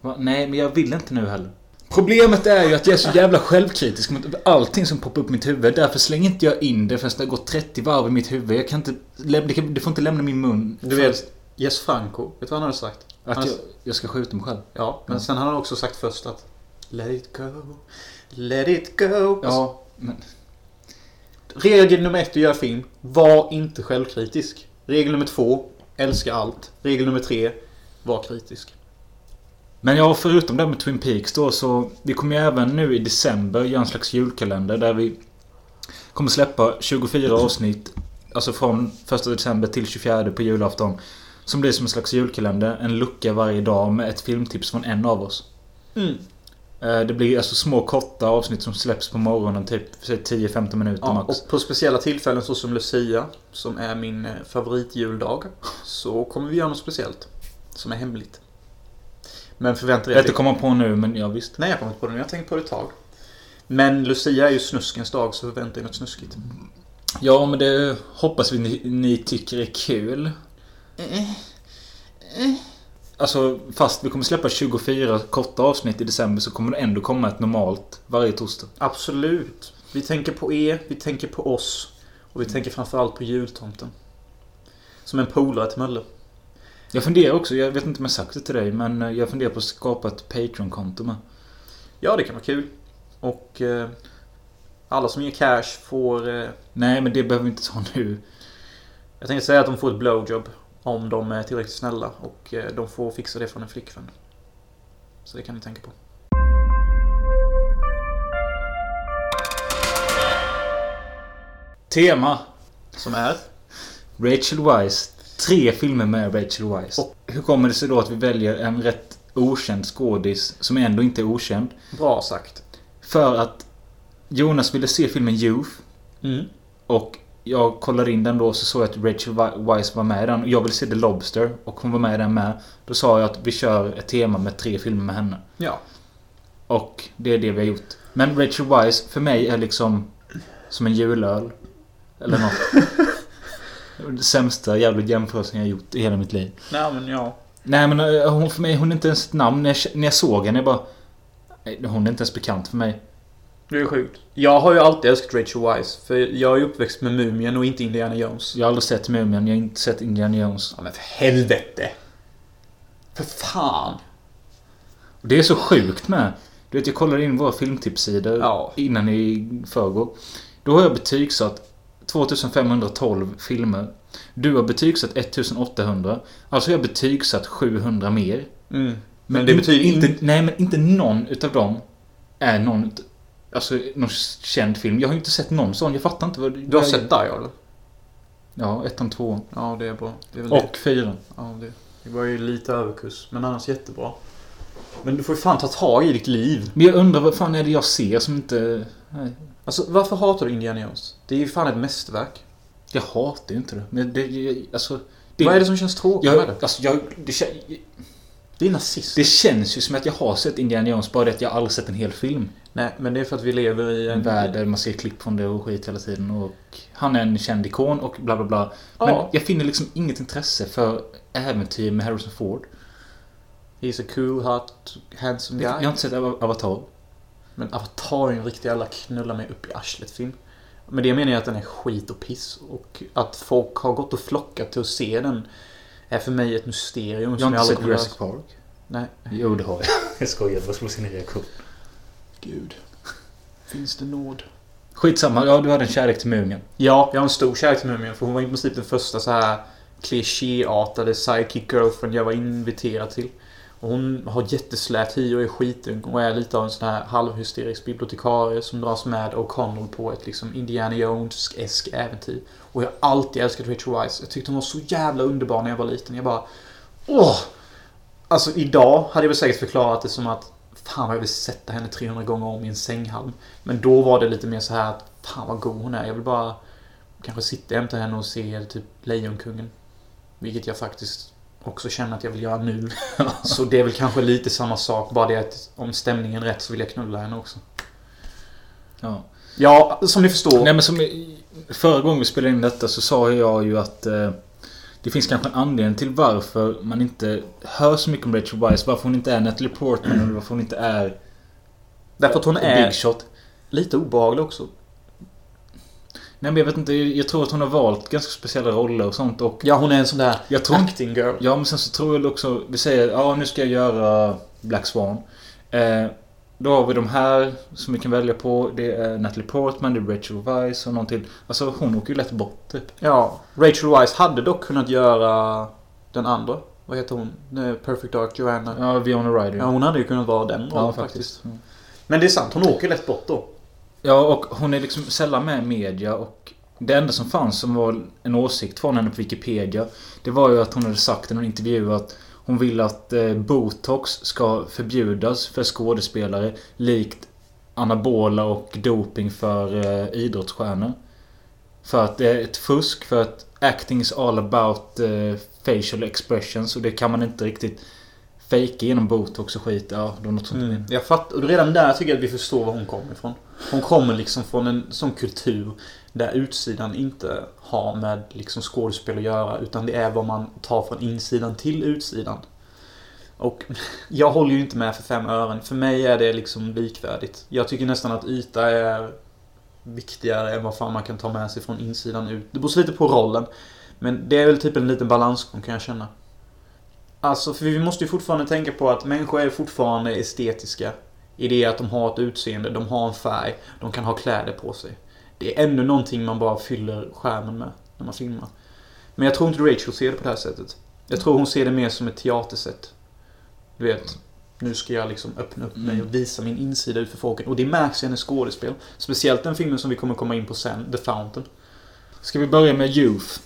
B: Va? Nej, men jag vill inte nu heller. Problemet är ju att jag är så jävla självkritisk mot allting som poppar upp i mitt huvud. Därför slänger inte jag in det förrän det har gått 30 varv i mitt huvud. Jag kan inte... läm- Det, kan, det får inte lämna min mun.
A: Du vet, Jess Franco, vet du vad han hade sagt?
B: Att jag,
A: Alltså-
B: jag ska skjuta mig själv.
A: Ja,
B: Mm.
A: men sen har han också sagt först att Let it go, let it go. Alltså,
B: Ja, men...
A: regel nummer ett att göra film, var inte självkritisk. Regel nummer två, älska allt. Regel nummer tre, var kritisk.
B: Men ja, förutom det här med Twin Peaks då så Vi kommer ju även nu i december göra en slags julkalender där vi Kommer släppa 24 avsnitt Alltså från 1 december till 24 på julafton Som blir som en slags julkalender. En lucka varje dag med ett filmtips från en av oss.
A: Mm.
B: Eh, Det blir alltså små korta avsnitt som släpps på morgonen. Typ säg 10-15 minuter
A: Ja,
B: max.
A: och på speciella tillfällen såsom Lucia, som är min eh, favoritjuldag, så kommer vi göra något speciellt. Som är hemligt. Men förvänta er
B: Detta kommer jag på nu men ja visst.
A: Nej, jag kommer inte på det. Men jag har tänkt på det ett tag. Men Lucia är ju snuskens dag, så förvänta er något snuskigt.
B: Ja men det hoppas vi ni, ni tycker är kul. Alltså fast vi kommer släppa 24 korta avsnitt i december så kommer det ändå komma ett normalt varje torsdag.
A: Absolut. Vi tänker på er, vi tänker på oss. Och vi tänker framförallt på jultomten. Som en polare till Mölle.
B: Jag funderar också, jag vet inte om jag sagt det till dig men eh, jag funderar på att skapa ett Patreon-konto med.
A: Ja, det kan vara kul. Och eh, alla som ger cash får... Eh,
B: Nej men det behöver vi inte ta nu.
A: jag tänkte säga att de får ett blowjob. Om de är tillräckligt snälla. Och eh, de får fixa det från en flickvän. Så det kan ni tänka på.
B: Tema!
A: Som är?
B: Rachel Weisz. Tre filmer med Rachel Weisz. Och hur kommer det sig då att vi väljer en rätt okänd skådis som ändå inte är okänd?
A: Bra sagt.
B: För att Jonas ville se filmen Youth
A: Mm.
B: och jag kollade in den då så såg jag att Rachel Wi- Weisz var med i den. Jag ville se The Lobster och hon var med i den med. Då sa jag att vi kör ett tema med tre filmer med henne.
A: Ja.
B: Och det är det vi har gjort. Men Rachel Weisz för mig är liksom som en julöl. Eller något. Det sämsta jävla jämförelsen jag har gjort i hela mitt liv.
A: Nej, men ja.
B: Nej men eh, hon för mig, hon är inte ens ett namn. När jag, när jag såg henne jag bara... "Nej, Hon är inte ens bekant för mig.
A: Det är sjukt. Jag har ju alltid älskat Rachel Weisz. För jag är ju uppväxt med Mumien och inte Indiana Jones.
B: Jag har aldrig sett Mumien, jag har inte sett Indiana Jones.
A: Ja, men för helvete! För fan!
B: Och det är så sjukt med. Du vet jag kollade in våra filmtipssidor
A: Ja.
B: innan i förrgår. Då har jag betygsatt 2512 filmer. Du har betygsatt 1800. Alltså har jag betygsatt 700 mer.
A: Mm. Men det betyder
B: inte...
A: inte...
B: Nej men inte någon utav dem är någon... ut- Alltså någon känd film. Jag har ju inte sett någon sån. Jag fattar inte vad...
A: Du har
B: vad-
A: sett Die eller?
B: Ja, ettan, tvåan.
A: Ja, det är bra. Det är väl det.
B: Och fyran.
A: Ja, det. det var ju lite överkurs, men annars jättebra. Men du får ju fan ta tag i ditt liv.
B: Men jag undrar vad fan är det jag ser som inte... Nej.
A: Alltså, varför hatar du Indiana Jones? Det är ju fan ett mästerverk.
B: Jag hatar ju inte det. Men det... jag- Alltså... Det,
A: Vad är det som känns tråkigt med
B: Jag,
A: det?
B: alltså, jag, det, kän-
A: Det är nazism.
B: det känns ju som att jag har sett Indiana Jones, bara det att jag aldrig sett en hel film.
A: Nej, men det är för att vi lever i
B: En
A: en...
B: värld där man ser klipp från det och skit hela tiden och... Han är en känd ikon och bla bla bla. Men
A: Ja.
B: jag finner liksom inget intresse för äventyr med Harrison Ford.
A: He's a cool, hot, handsome
B: Jag
A: guy.
B: har inte sett Ava- Avatar.
A: Men Avatar är en riktig alla knulla mig upp i arslet film. Men det menar jag att den är skit och piss. Och att folk har gått och flockat till att se den är för mig ett mysterium
B: Jag har inte
A: aldrig
B: sett
A: kommer
B: Jurassic
A: lösa.
B: Park.
A: Nej.
B: Jo, det har jag. [laughs] Jag skojar, det var slå sin reaktion.
A: Gud. Finns det nåd?
B: Skitsamma, ja du hade en kärlek till Mumien.
A: Ja, jag har en stor kärlek till Mumien för hon var i princip den första så här klichéartade sidekick girlfriend jag var inviterad till. Och hon har jätteslät hy och är skitung och är lite av en sån här halvhysterisk bibliotekarie som dras med och Connell på ett liksom Indiana Jones-esk äventyr. Och jag har alltid älskat Rachel Weisz. Jag tyckte hon var så jävla underbar när jag var liten. Jag bara... Åh! Alltså idag hade jag väl säkert förklarat det som att Fan vad jag vill sätta henne 300 gånger om i en sänghalm. Men då var det lite mer så här att Fan vad god hon är. Jag vill bara kanske sitta jämte henne och se typ Lejonkungen. Vilket jag faktiskt också känner att jag vill göra [laughs] nu. så det är väl kanske lite samma sak. Bara det att om stämningen är rätt så vill jag knulla henne också.
B: Ja.
A: Ja, som ni förstår.
B: Nej men som i- förra gången vi spelade in detta så sa jag ju att eh, det finns kanske en anledning till varför man inte hör så mycket om Rachel Weisz. Varför hon inte är Natalie Portman eller varför hon inte är
A: därför att hon
B: The
A: är
B: Big Shot.
A: lite obehaglig också.
B: Nej men jag vet inte, jag tror att hon har valt ganska speciella roller och sånt och...
A: Ja, hon är en sån där
B: Jag tror
A: acting girl.
B: Ja men sen så tror jag också, vi säger ja nu ska jag göra Black Swan. Eh, då har vi de här som vi kan välja på. Det är Natalie Portman, det är Rachel Weisz och någon till. Alltså hon åker ju lätt bort typ.
A: Ja, Rachel Weisz hade dock kunnat göra den andra. Vad heter hon? Eh, Perfect Dark Joanna.
B: Ja, Viona Ryder.
A: Ja, hon hade ju kunnat vara den rollen faktiskt.
B: Mm.
A: Men det är sant, hon åker lätt bort då.
B: Ja, och hon är liksom sällan med i media och Det enda som fanns som var en åsikt från henne på Wikipedia Det var ju att hon hade sagt i någon intervju att Hon vill att eh, botox ska förbjudas för skådespelare Likt anabola och doping för eh, idrottsstjärnor För att det är ett fusk för att acting is all about eh, facial expressions och det kan man inte riktigt fejka genom botox och skit. Ja, det var något sånt.
A: Mm. Jag fattar. Och redan där tycker jag att vi förstår var hon kommer ifrån. Hon kommer liksom från en sån kultur där utsidan inte har med liksom skådespel att göra utan det är vad man tar från insidan till utsidan. Och [laughs] jag håller ju inte med för fem ören. För mig är det liksom likvärdigt. Jag tycker nästan att yta är viktigare än vad fan man kan ta med sig från insidan ut. Det beror så lite på rollen. Men det är väl typ en liten balansgång kan jag känna. Alltså, för vi måste ju fortfarande tänka på att människor är fortfarande estetiska. I det att de har ett utseende, de har en färg, de kan ha kläder på sig. Det är ännu någonting man bara fyller skärmen med när man filmar. Men jag tror inte Rachel ser det på det här sättet. Jag tror hon ser det mer som ett teatersätt. Du vet, nu ska jag liksom öppna upp mig och visa min insida ut för folket. Och det märks i hennes skådespel. Speciellt den filmen som vi kommer komma in på sen, The Fountain.
B: Ska vi börja med Youth?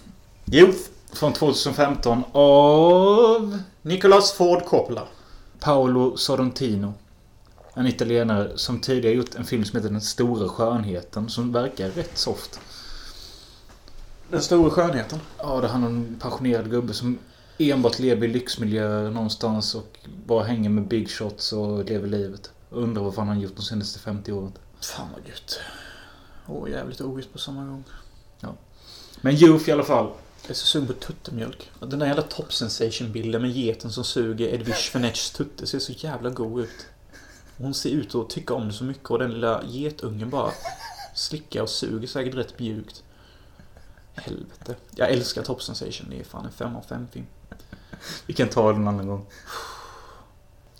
A: Youth!
B: Från 2015 av
A: Nicholas Ford Coppola.
B: Paolo Sorrentino. En italienare som tidigare gjort en film som heter Den stora skönheten som verkar rätt soft.
A: Den stora skönheten.
B: Ja, det handlar om en passionerad gubbe som enbart lever i lyxmiljöer någonstans och bara hänger med big shots och lever livet. Undrar vad fan han gjort de senaste 50 åren.
A: Fan vad gött. Och jävligt ovisst på samma gång.
B: Men Youth i alla fall.
A: Jag är så sugen på tuttemjölk. Och Den där jävla Top Sensation-bilden med geten som suger Edwige Fenechs tutte ser så jävla god ut. Och Hon ser ut att tycka om det så mycket och den lilla getungen bara slickar och suger säkert rätt mjukt. Helvete. Jag älskar Top Sensation. Det är fan en 5 av 5 film.
B: Vi kan ta den en annan gång.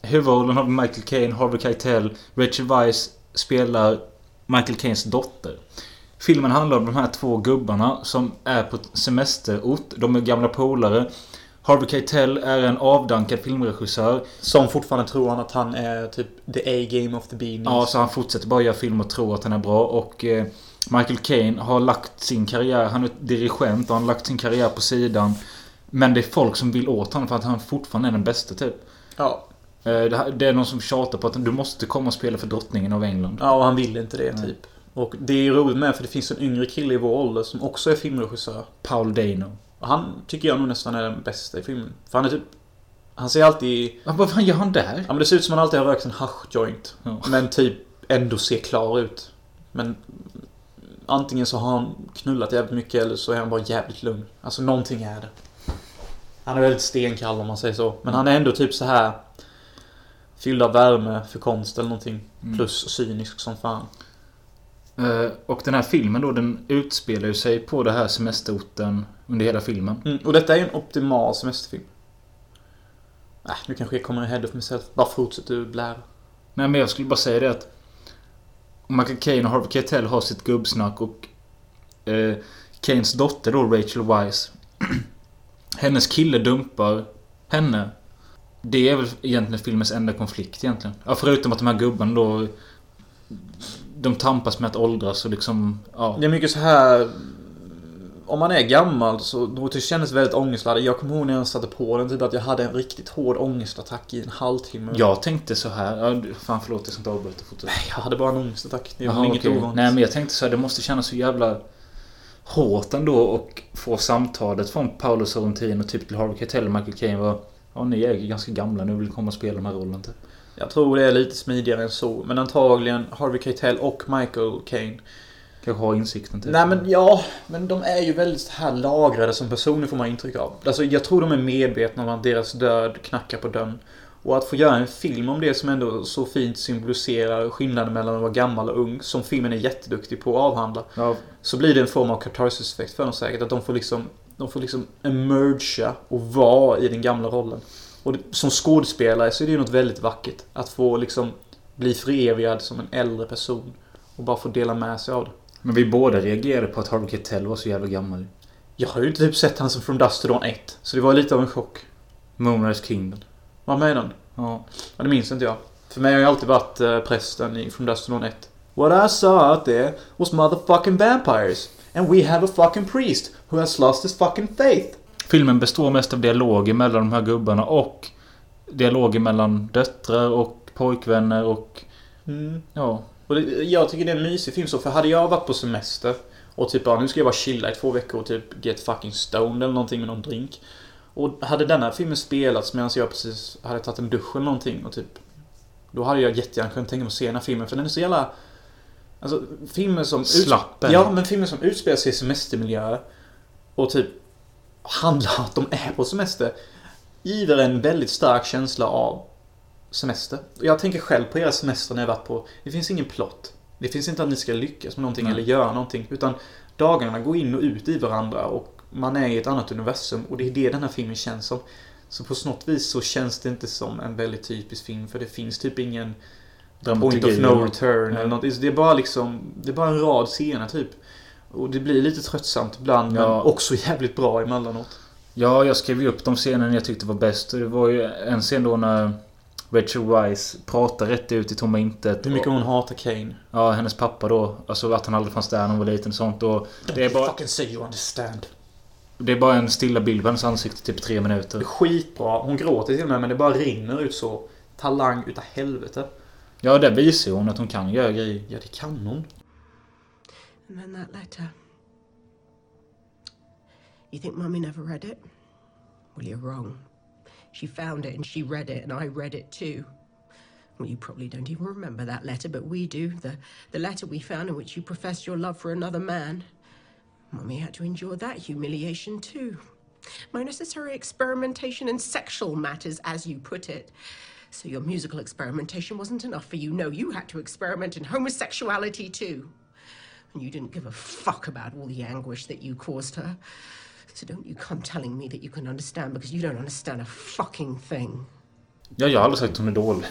B: Huvudrollen har Michael Caine, Harvey Keitel, Rachel Weisz spelar Michael Caines dotter. Filmen handlar om de här två gubbarna som är på ett semesterort. De är gamla polare. Harvey Keitel är en avdankad filmregissör.
A: Som fortfarande tror han att han är typ the A-game of the beanies.
B: Ja, så han fortsätter bara göra film och tror att han är bra. Och eh, Michael Caine har lagt sin karriär, han är dirigent och han har lagt sin karriär på sidan. Men det är folk som vill åt honom för att han fortfarande är den bästa typ.
A: ja.
B: Eh, det, här- det är någon som tjatar på att du måste komma och spela för drottningen av England.
A: Ja, och han vill inte det
B: Nej.
A: typ. Och det är ju roligt med för det finns en yngre kille i vår ålder som också är filmregissör.
B: Paul Dano.
A: Och han tycker jag nog nästan är den bästa i filmen. För han är typ... Han ser alltid...
B: Va- Vad fan gör han där?
A: Ja men det ser ut som han alltid har rökt en haschjoint.
B: Ja.
A: Men typ ändå ser klar ut. Men... Antingen så har han knullat jävligt mycket eller så är han bara jävligt lugn. Alltså någonting är det. Han är väldigt stenkall om man säger så. Men han är ändå typ så här Fylld av värme för konst eller någonting.
B: Mm.
A: Plus cynisk som fan.
B: Eh, Och den här filmen då, den utspelar ju sig på det här semesterorten under hela filmen.
A: Mm, och detta är ju en optimal semesterfilm. Äh, nu kanske jag kommer ahead of myself. Bara fortsätt du blära.
B: Nej men jag skulle bara säga det att Michael Caine och Harvey Keitel har sitt gubbsnack och eh, Kaines dotter då, Rachel Weisz [clears throat] Hennes kille dumpar henne. Det är väl egentligen filmens enda konflikt egentligen. Ja, förutom att de här gubbarna då... De tampas med att åldras och liksom... Ja.
A: Det är mycket så här... Om man är gammal så då det kändes väldigt ångestladdad. Jag kommer ihåg när jag satte på den typ att jag hade en riktigt hård ångestattack i en halvtimme.
B: Jag tänkte så här... Ja, du- fan förlåt, jag ska inte avbryta. Fortsätt.
A: Nej, jag hade bara en ångestattack. Det
B: Jaha,
A: var inget
B: okej.
A: ovanligt.
B: Nej men jag tänkte så här, det måste kännas så jävla hårt ändå och få samtalet från Paolo Sorrentino typ till Harvey Keitel och Michael Caine var Ja ni är ju ganska gamla nu vill komma och spela de här rollen typ.
A: Jag tror det är lite smidigare än så. Men antagligen Harvey Keitel och Michael Caine
B: Kanske ha insikten typ.
A: Nej men ja, men de är ju väldigt så här lagrade som personer får man intryck av. Alltså jag tror de är medvetna om att deras död knackar på dörren. Och att få göra en film om det som ändå så fint symboliserar skillnaden mellan att vara gammal och ung, som filmen är jätteduktig på att avhandla.
B: Ja,
A: Så blir det en form av katarsis-effekt för dem säkert. Att de får liksom, de får liksom emergea och vara i den gamla rollen. Och det, som skådespelare så är det ju något väldigt vackert. Att få liksom bli förevigad som en äldre person. Och bara få dela med sig av det.
B: men vi båda reagerade på att Harvey Keitel var så jävla gammal.
A: Jag har ju inte typ sett han som From Dust to Dawn 1. Så det var lite av en chock.
B: Moonrise Kingdom.
A: Vad menar han?
B: Ja.
A: Ja, det minns inte jag. För mig har jag alltid varit eh, prästen i From Dust to Dawn 1. What I saw out there was motherfucking vampires. And we have a fucking priest who has lost his fucking faith.
B: Filmen består mest av dialoger mellan de här gubbarna och dialoger mellan döttrar och pojkvänner och
A: Mm.
B: ja.
A: Och det, jag tycker det är en mysig film så, för hade jag varit på semester och typ bara nu ska jag bara chilla i två veckor och typ get fucking stoned eller någonting med någon drink. Och hade denna filmen spelats medan jag precis hade tagit en dusch eller någonting och typ Då hade jag jättegärna kunnat tänka mig att se den här filmen för den är så jävla Alltså filmer som... ut-
B: Slappen.
A: Ja, men filmer som utspelar sig i semestermiljöer och typ handlar om att de är på semester giver en väldigt stark känsla av semester. Och Jag tänker själv på era semester när jag varit på... Det finns ingen plott. Det finns inte att ni ska lyckas med någonting
B: Nej.
A: eller göra någonting. Utan dagarna går in och ut i varandra och man är i ett annat universum. Och det är det den här filmen känns som. Så på något vis så känns det inte som en väldigt typisk film. För det finns typ ingen point of
B: dramaturgi.
A: no return
B: Nej.
A: eller något. Det är bara liksom... Det är bara en rad scener typ. Och det blir lite tröttsamt ibland men
B: Ja.
A: också jävligt bra emellanåt.
B: Ja, jag skrev ju upp de scener jag tyckte var bäst. Och Det var ju en scen då när Rachel Rice pratar rätt ut i tomma intet.
A: Hur mycket
B: Och-
A: hon hatar Kane.
B: Ja, hennes pappa då. Alltså att han aldrig fanns där när hon var liten och sånt. Och det, är bara,
A: Fucking say you understand.
B: det är bara en stilla bild på hennes ansikte typ tre
A: Det är
B: minuter.
A: skitbra. Hon gråter till och med men det bara rinner ut så. Talang utav helvete.
B: Ja, där visar ju hon att hon kan göra grejer.
A: Ja, det kan hon.
C: And then that letter. You think Mummy never read it? Well, you're wrong. She found it and she read it, and I read it too. Well, you probably don't even remember that letter, but we do. The, the letter we found in which you professed your love for another man. Mummy had to endure that humiliation too. My necessary experimentation in sexual matters, as you put it. So your musical experimentation wasn't enough for you. No, you had to experiment in homosexuality too. And you didn't give a fuck about all the anguish that you caused her. So don't you come telling me that you can understand because you don't understand a fucking thing.
B: Ja, jag har aldrig sagt att hon är dålig.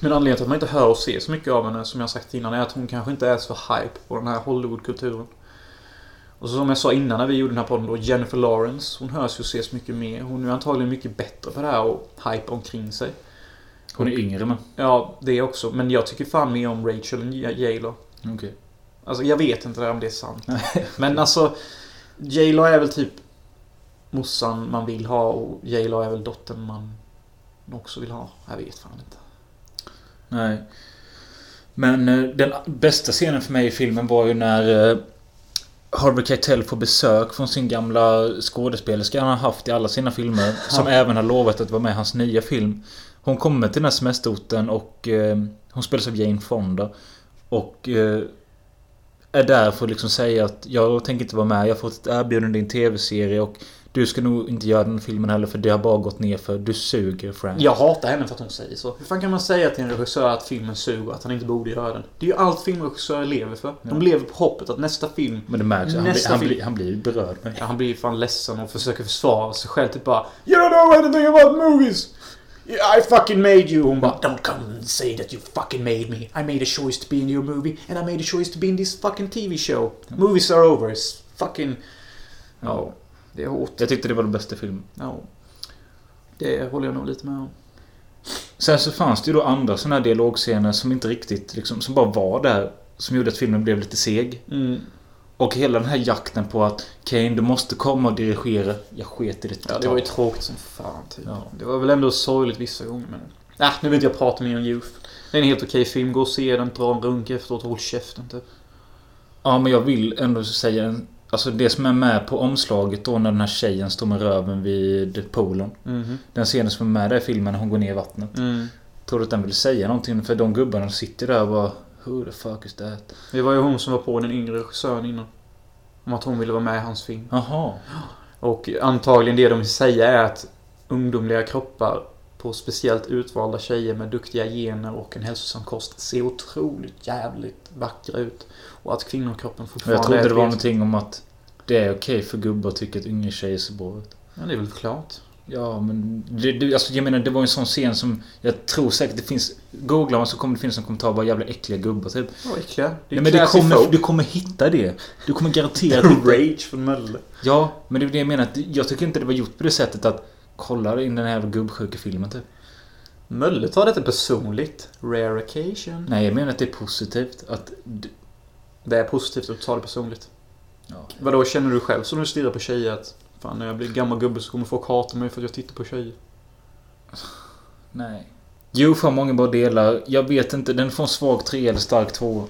A: Men anledningen till att man inte hör och ser så mycket av henne, som jag sagt innan, är att hon kanske inte är så hype på den här Hollywood-kulturen. Och så som jag sa innan när vi gjorde den här podden då, Jennifer Lawrence, hon hörs ju och ses mycket mer. Hon är antagligen mycket bättre på det här och hype omkring sig.
B: Hon är yngre men.
A: Ja, det också. Men jag tycker fan mer om Rachel än J-Lo.
B: Okej.
A: Alltså jag vet inte där om det är sant. Men alltså J-Lo är väl typ Mossan man vill ha och J-Lo är väl dottern man också vill ha. Jag vet fan inte.
B: Nej. Men eh, den bästa scenen för mig i filmen var ju när eh, Harvey Keitel får besök från sin gamla skådespelerska han har haft i alla sina filmer. Som även har lovat att vara med i hans nya film. Hon kommer till den här semesterorten och eh, hon spelas av Jane Fonda. Och eh, är där för att liksom säga att jag tänker inte vara med. Jag har fått ett erbjudande i en tv-serie och du ska nog inte göra den filmen heller för det har bara gått ner för du suger Frank.
A: Jag hatar henne för att hon säger så. Hur fan kan man säga till en regissör att filmen suger och att han inte borde göra den? Det är ju allt filmregissörer lever för. De lever på hoppet att nästa film...
B: Men det märks. Han, blir-
A: Nästa
B: han,
A: film-
B: blir, han blir ju berörd. Men...
A: Ja, han blir fan ledsen och försöker försvara sig själv. Typ bara You don't know anything about movies! I fucking made you! Hon bara Don't come and say that you fucking made me. I made a choice to be in your movie and I made a choice to be in this fucking TV show. Movies are over. It's fucking... Ja, det är hårt.
B: Jag tyckte det var den bästa filmen.
A: Ja. Det håller jag nog lite med om.
B: Sen så fanns det ju då andra såna här dialogscener som inte riktigt liksom, som bara var där. Som gjorde att filmen blev lite seg.
A: Mm.
B: Och hela den här jakten på att Kane, du måste komma och dirigera. Jag sket i det
A: Ja,
B: totalt.
A: det var ju tråkigt som fan typ.
B: Ja.
A: Det var väl ändå sorgligt vissa gånger men... Äh, nu vill inte jag prata mer om Youth. Det är en helt okej film. Gå och se den, dra en runk efteråt, håll käften typ.
B: Ja, men jag vill ändå säga en... Alltså det som är med på omslaget då när den här tjejen står med röven vid poolen.
A: Mhm.
B: Den scenen som är med där i filmen när hon går ner i vattnet.
A: Mm.
B: Tror du att den vill säga någonting? För de gubbarna sitter där och bara... Who the fuck is that?
A: Det var ju hon som var på den yngre regissören innan. Om att hon ville vara med i hans film.
B: Jaha.
A: Och antagligen det de vill säga är att ungdomliga kroppar på speciellt utvalda tjejer med duktiga gener och en hälsosam kost ser otroligt jävligt vackra ut. Och att kvinnokroppen
B: Och jag
A: fortfarande
B: trodde
A: är
B: det var
A: ett-
B: någonting om att det är okej för gubbar att tycka att yngre tjejer ser bra ut.
A: Ja, det är väl klart.
B: Ja, men det, det, alltså, jag menar, det var en sån scen som jag tror säkert det finns... Googlar man så kommer det finnas en kommentar bara jävla äckliga gubbar typ.
A: Vad äckliga. Det
B: Nej,
A: är
B: men du
A: classy
B: kommer, [laughs]
A: folk.
B: du kommer hitta det. Du kommer [laughs] garanterat hitta...
A: Rage från Mölle.
B: Ja, men det är det jag menar. att Jag tycker inte det var gjort på det sättet att kolla in den här jävla gubbsjukefilmen typ.
A: Mölle tar detta personligt. Rare occasion.
B: Nej, jag menar att det är positivt. Att, d-
A: Det är positivt att du tar det personligt.
B: Ja.
A: Vadå, känner du själv som du stirrar på tjejer att Fan, när jag blir gammal gubbe så kommer folk hata mig för att jag tittar på tjejer?
B: Nej. Jo, för många bra delar. Jag vet inte. Den får en svag 3 eller stark 2.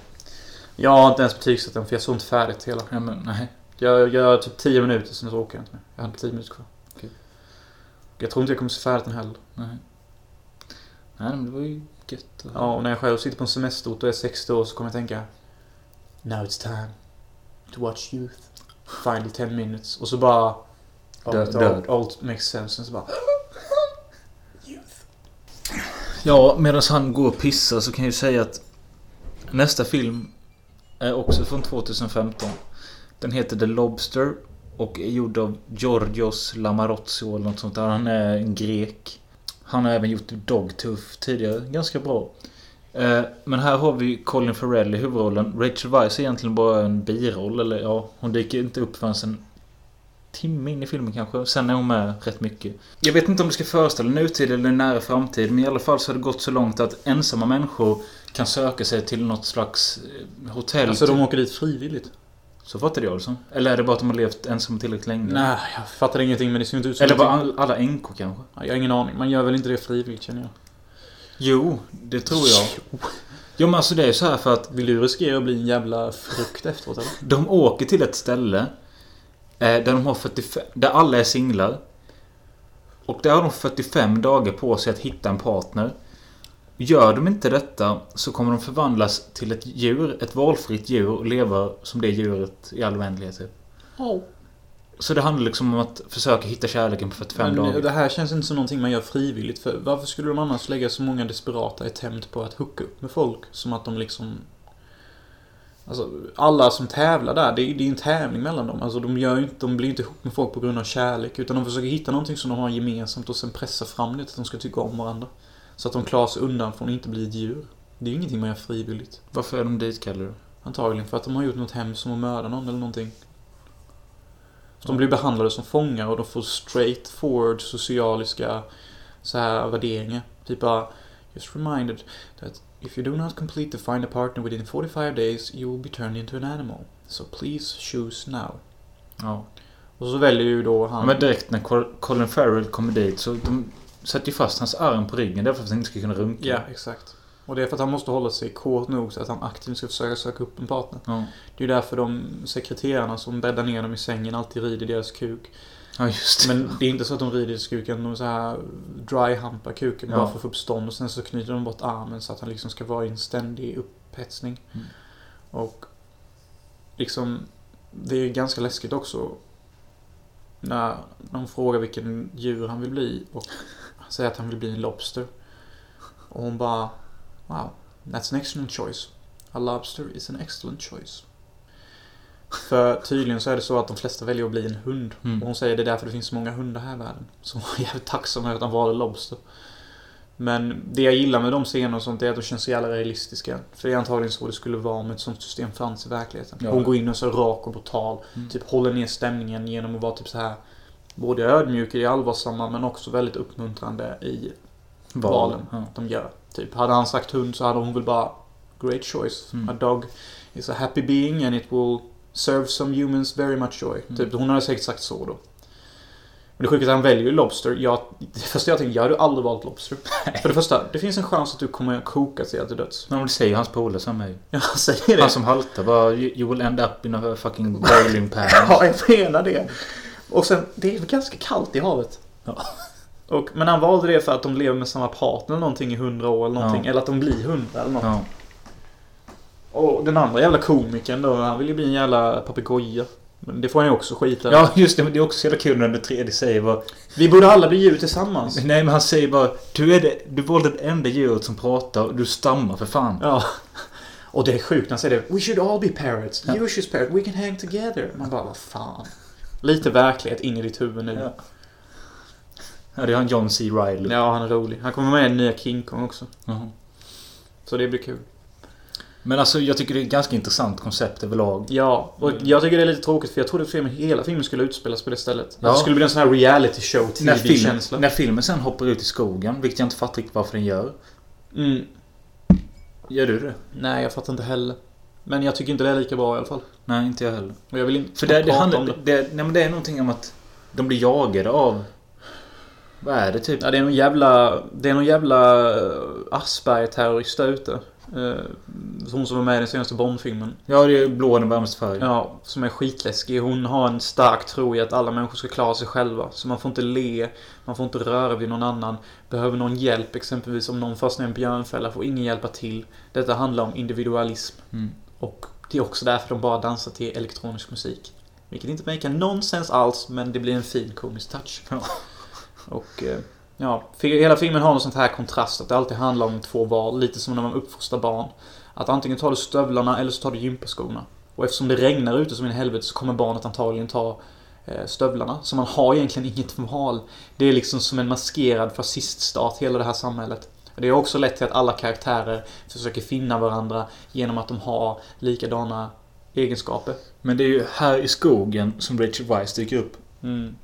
A: Jag har inte ens betygsatt den för jag såg inte färdigt hela.
B: Ja, men nej.
A: Jag gör typ 10 minuter, sen så åker jag inte mer. Jag hade 10 minuter kvar.
B: Okej.
A: Jag tror inte jag kommer se färdigt den heller.
B: Nej. Nej, men det var ju gött. att-
A: Ja, och när jag själv sitter på en semesterort och är 60 år så kommer jag tänka Now it's time to watch youth. Final 10 minutes. Och så bara...
B: Dö-
A: allt,
B: död.
A: allt, allt makes sense. Och så bara...
B: Ja, medan han går och pissar så kan jag ju säga att nästa film är också från 2015. Den heter The Lobster och är gjord av Georgios Lamarozzo eller något sånt där. Han är en grek. Han har även gjort Dogtooth tidigare. Ganska bra. Eh, Men här har vi Colin Farrell i huvudrollen. Rachel Weisz är egentligen bara en biroll. Eller ja, hon dyker inte upp förrän en timme in i filmen kanske. Sen är hon med rätt mycket. Jag vet inte om det ska föreställa nutid eller nära framtid. Men i alla fall så har det gått så långt att ensamma människor kan söka sig till något slags eh, hotell.
A: Alltså
B: typ.
A: de åker dit frivilligt.
B: Så fattade jag det som. Eller är det bara att de har levt ensamma tillräckligt länge?
A: Nej, jag fattar ingenting men det ser inte ut som
B: Eller bara
A: någonting.
B: all, alla änkor kanske?
A: Jag har ingen aning. Man gör väl inte det frivilligt känner jag.
B: Jo, det tror jag. Jo men alltså det är så här för att
A: Vill du riskera att bli en jävla frukt efteråt eller?
B: de åker till ett ställe eh, där de har 45, där alla är singlar. Och där har de 45 dagar på sig att hitta en partner. Gör de inte detta så kommer de förvandlas till ett djur, ett valfritt djur och leva som det djuret i all oändlighet. typ. Så det handlar liksom om att försöka hitta kärleken på 45
A: Men eh,
B: dagar.
A: det här känns inte som någonting man gör frivilligt för varför skulle de annars lägga så många desperata attempt på att hooka upp med folk? Som att de liksom... Alltså, alla som tävlar där, det är, det är en tävling mellan dem. Alltså, de, gör ju inte, de blir ju inte ihop med folk på grund av kärlek. Utan de försöker hitta någonting som de har gemensamt och sen pressa fram det till att de ska tycka om varandra. Så att de klarar sig undan från att inte bli ett djur. Det är ju ingenting man gör frivilligt.
B: Varför är de ditkallade då?
A: Antagligen för att de har gjort något hemskt som att mörda någon eller någonting. Så
B: Mm.
A: de blir behandlade som fångar och de får straight forward socialiska så här värderingar. Typ bara Just reminded that if you do not complete to find a partner within 45 days you will be turned into an animal. So please choose now.
B: Ja.
A: Och så väljer ju då
B: Ja,
A: han...
B: Men direkt när Col- Colin Farrell kommer dit så de sätter ju fast hans arm på ryggen därför att han inte ska kunna runka.
A: Ja, exakt. Och det är för att han måste hålla sig kort nog så att han aktivt ska försöka söka upp en partner.
B: Ja.
A: Det är ju därför de sekreterarna som bäddar ner dem i sängen alltid rider deras kuk.
B: Ja, just det.
A: Men det är inte så att de rider kuken, de så här dry-humpar kuken
B: Ja.
A: bara för att få upp stånd och sen så knyter de bort armen så att han liksom ska vara i en ständig upphetsning.
B: Mm.
A: Och liksom, det är ganska läskigt också när de frågar vilken djur han vill bli och han säger att han vill bli en lobster. Och hon bara Wow, that's an excellent choice. A lobster is an excellent choice. För tydligen så är det så att de flesta väljer att bli en hund. Och
B: Mm.
A: hon säger det är därför det finns så många hundar här i världen. [laughs] Så hon är jävligt tacksam över att han valde Lobster. Men det jag gillar med de scenerna och sånt är att de känns så jävla realistiska. För det är antagligen så det skulle vara om ett sånt system fanns i verkligheten.
B: Ja.
A: Hon går in och så rak och brutal.
B: Mm.
A: Typ håller ner stämningen genom att vara typ så här Både ödmjuk i allvarsamma men också väldigt uppmuntrande i Valen.
B: Ja.
A: de gör. Typ, hade han sagt hund så hade hon väl bara Great choice.
B: Mm.
A: A dog is a happy being and it will serve some humans very much joy.
B: Mm.
A: Typ, hon hade säkert sagt så då. Men det sjuka är att han väljer ju Lobster. Jag, det första jag tänkte, jag hade ju aldrig
B: [laughs]
A: valt Lobster. För det första, det finns en chans att du kommer att koka sig till döds. [laughs]
B: Men det säger ju hans polare som mig.
A: Jag säger det.
B: Han som haltar bara you, you will end up in a fucking bowling pan.
A: [laughs] [laughs] Ja, jag menar det. Och sen, det är väl ganska kallt i havet.
B: Ja.
A: Och, men han valde det för att de lever med samma partner någonting i hundra år eller någonting.
B: Ja.
A: Eller att de blir hundra eller något.
B: Ja.
A: Och den andra jävla komikern då, han vill ju bli en jävla papegoja. Men det får han ju också skita i.
B: ja, just det. Men det är också så jävla kul när den tredje säger bara...
A: Vi borde alla bli djur tillsammans.
B: Nej, men han säger bara... Du, är det, du valde det enda djuret som pratar och du stammar för fan.
A: Ja. [laughs] Och det är sjukt när han säger det. We should all be parrots. You should parrot. We can hang together. Man bara, vad fan. Lite verklighet in i ditt huvud nu.
B: Ja. Ja, det är han John C. Reilly.
A: Ja, han är rolig. Han kommer med i den nya King Kong också.
B: Jaha.
A: Så det blir kul.
B: Men alltså, jag tycker det är ett ganska intressant koncept överlag.
A: Ja, och
B: Mm.
A: jag tycker det är lite tråkigt för jag trodde filmen, hela filmen skulle utspelas på det stället.
B: Ja.
A: Att det skulle bli en sån här reality show,
B: När, film,
A: TV-känsla.
B: när filmen sen hoppar ut i skogen, vilket jag inte fattar riktigt varför den gör.
A: Mm.
B: Gör du det?
A: Nej, jag fattar inte heller. Men jag tycker inte det är lika bra i alla fall.
B: Nej, inte jag heller.
A: Och jag vill inte
B: För det, det,
A: prata
B: handlar,
A: om
B: det.
A: det.
B: nej, men det är någonting om att de blir jagade av... Vad är det typ?
A: Ja, det är någon jävla... Det är någon jävla eh, Asperger-terrorist där ute. Eh, Hon som var med i den senaste Bond-filmen.
B: Ja, det är blå den varmaste färgen.
A: Ja, som är skitläskig. Hon har en stark tro i att alla människor ska klara sig själva. Så man får inte le, man får inte röra vid någon annan. Behöver någon hjälp exempelvis om någon fastnar i en björnfälla får ingen hjälpa till. Detta handlar om individualism.
B: Mm.
A: Och det är också därför de bara dansar till elektronisk musik. Vilket inte make nonsens alls, men det blir en fin komisk touch.
B: Ja.
A: [laughs] Och eh, ja, fi- hela filmen har något sånt här kontrast, att det alltid handlar om två val, lite som när man uppfostrar barn. Att antingen tar du stövlarna eller så tar du gympaskorna. Och eftersom det regnar ute som in i helvete så kommer barnet antagligen ta eh, stövlarna. Så man har egentligen inget val. Det är liksom som en maskerad fasciststat, hela det här samhället. Och Det har också lett till att alla karaktärer försöker finna varandra genom att de har likadana egenskaper.
B: Men det är ju här i skogen som Rachel Weisz dyker upp.
A: Mm.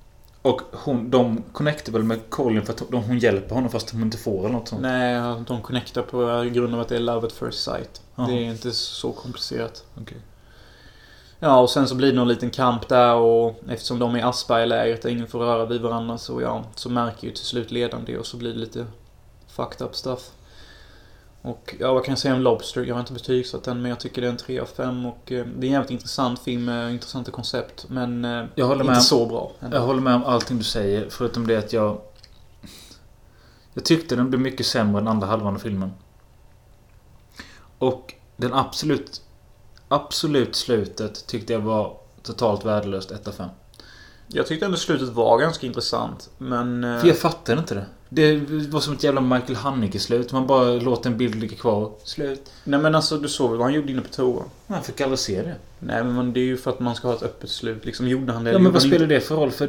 B: Och hon, de connectar väl med Colin för att hon, hon hjälper honom fast hon inte får eller något sånt.
A: Nej, de connectar på grund av att det är love at first sight.
B: Ja.
A: Det är inte så komplicerat.
B: Okej.
A: Ja, och sen så blir det någon liten kamp där och eftersom de är Aspergerlägret och ingen får röra vid varandra så ja, så märker ju till slut ledaren det och så blir det lite fucked up stuff. Och ja, vad kan jag säga om Lobster? Jag har inte betygsatt den men jag tycker det är en 3 av 5 och eh, det är en jävligt intressant film med intressanta koncept men eh,
B: Jag håller
A: inte
B: med.
A: så bra. ändå.
B: Jag håller med om allting du säger förutom det att jag... Jag tyckte den blev mycket sämre än andra halvan av filmen. Och den absolut... Absolut slutet tyckte jag var totalt värdelöst 1 av 5.
A: Mm. Jag tyckte ändå slutet var ganska intressant men... eh,
B: För jag fattar inte det. Det var som ett jävla Michael Haneke-slut. Man bara låter en bild ligga kvar. Slut.
A: Nej men alltså du såg väl vad han gjorde inne på toa?
B: Man fick aldrig se det.
A: Nej men det är ju för att man ska ha ett öppet slut liksom. Gjorde han det?
B: Ja,
A: Gjorde
B: men vad
A: han
B: spelar det för roll? För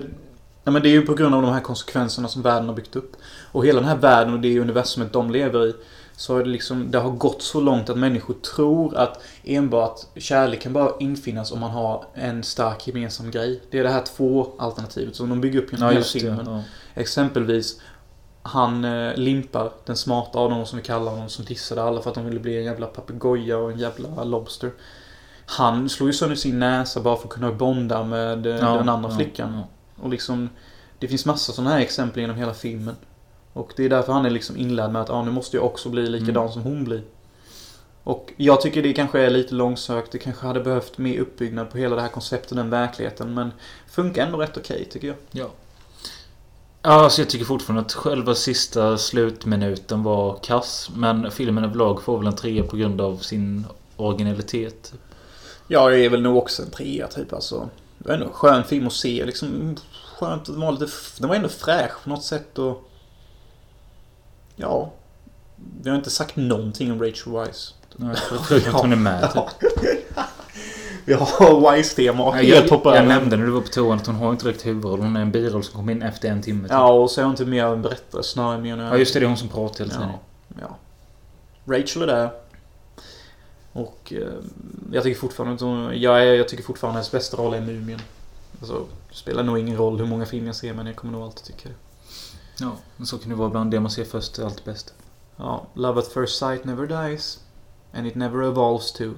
A: Nej men det är ju på grund av de här konsekvenserna som världen har byggt upp. Och hela den här världen och det universumet de lever i. Så är det liksom, det har gått så långt att människor tror att enbart kärlek kan bara infinnas om man har en stark gemensam grej. Det är det här två alternativet som de bygger upp genom hela filmen.
B: Ja.
A: Exempelvis han eh, limpar den smarta av dem som vi kallar honom som dissade alla för att de ville bli en jävla papegoja och en jävla lobster. Han slog ju sönder sin näsa bara för att kunna bonda med eh, den andra
B: ja,
A: flickan.
B: ja.
A: Och liksom, det finns massa sådana här exempel genom hela filmen. Och det är därför han är liksom inlärd med att ah, nu måste jag också bli likadan
B: Mm.
A: som hon blir. Och jag tycker det kanske är lite långsökt. Det kanske hade behövt mer uppbyggnad på hela det här konceptet, den verkligheten. Men funkar ändå rätt okej tycker jag.
B: Ja. Ja, alltså jag tycker fortfarande att själva sista slutminuten var kass. Men filmen överlag får väl en trea på grund av sin originalitet.
A: Ja, det är väl nog också en trea typ alltså. Det var ändå en skön film att se liksom. mm, Skönt att den var lite... f- Den var ändå fräsch på något sätt och... Ja. Vi har inte sagt någonting om Rachel Weisz.
B: Förutom att hon är med. typ.
A: Vi har [laughs] Weisz-tema
B: Nej, Jag,
A: helt
B: jag,
A: hoppar
B: jag
A: över.
B: nämnde när du var på toan att hon har inte direkt huvudroll. Hon är en biroll som kom in efter en timme. typ.
A: Ja, och så är hon inte mer av en berättare snarare menar jag.
B: ja just det. Det är hon som pratar hela tiden.
A: Ja, ja. Rachel är där. Och eh, jag tycker fortfarande att hon, jag, är- jag tycker fortfarande hennes bästa roll är Mumien. Alltså, det spelar nog ingen roll hur många filmer jag ser men jag kommer nog alltid tycka det.
B: Ja, men så kan det vara ibland. Det man ser först är allt bäst.
A: Ja, Love at first sight never dies. And it never evolves too.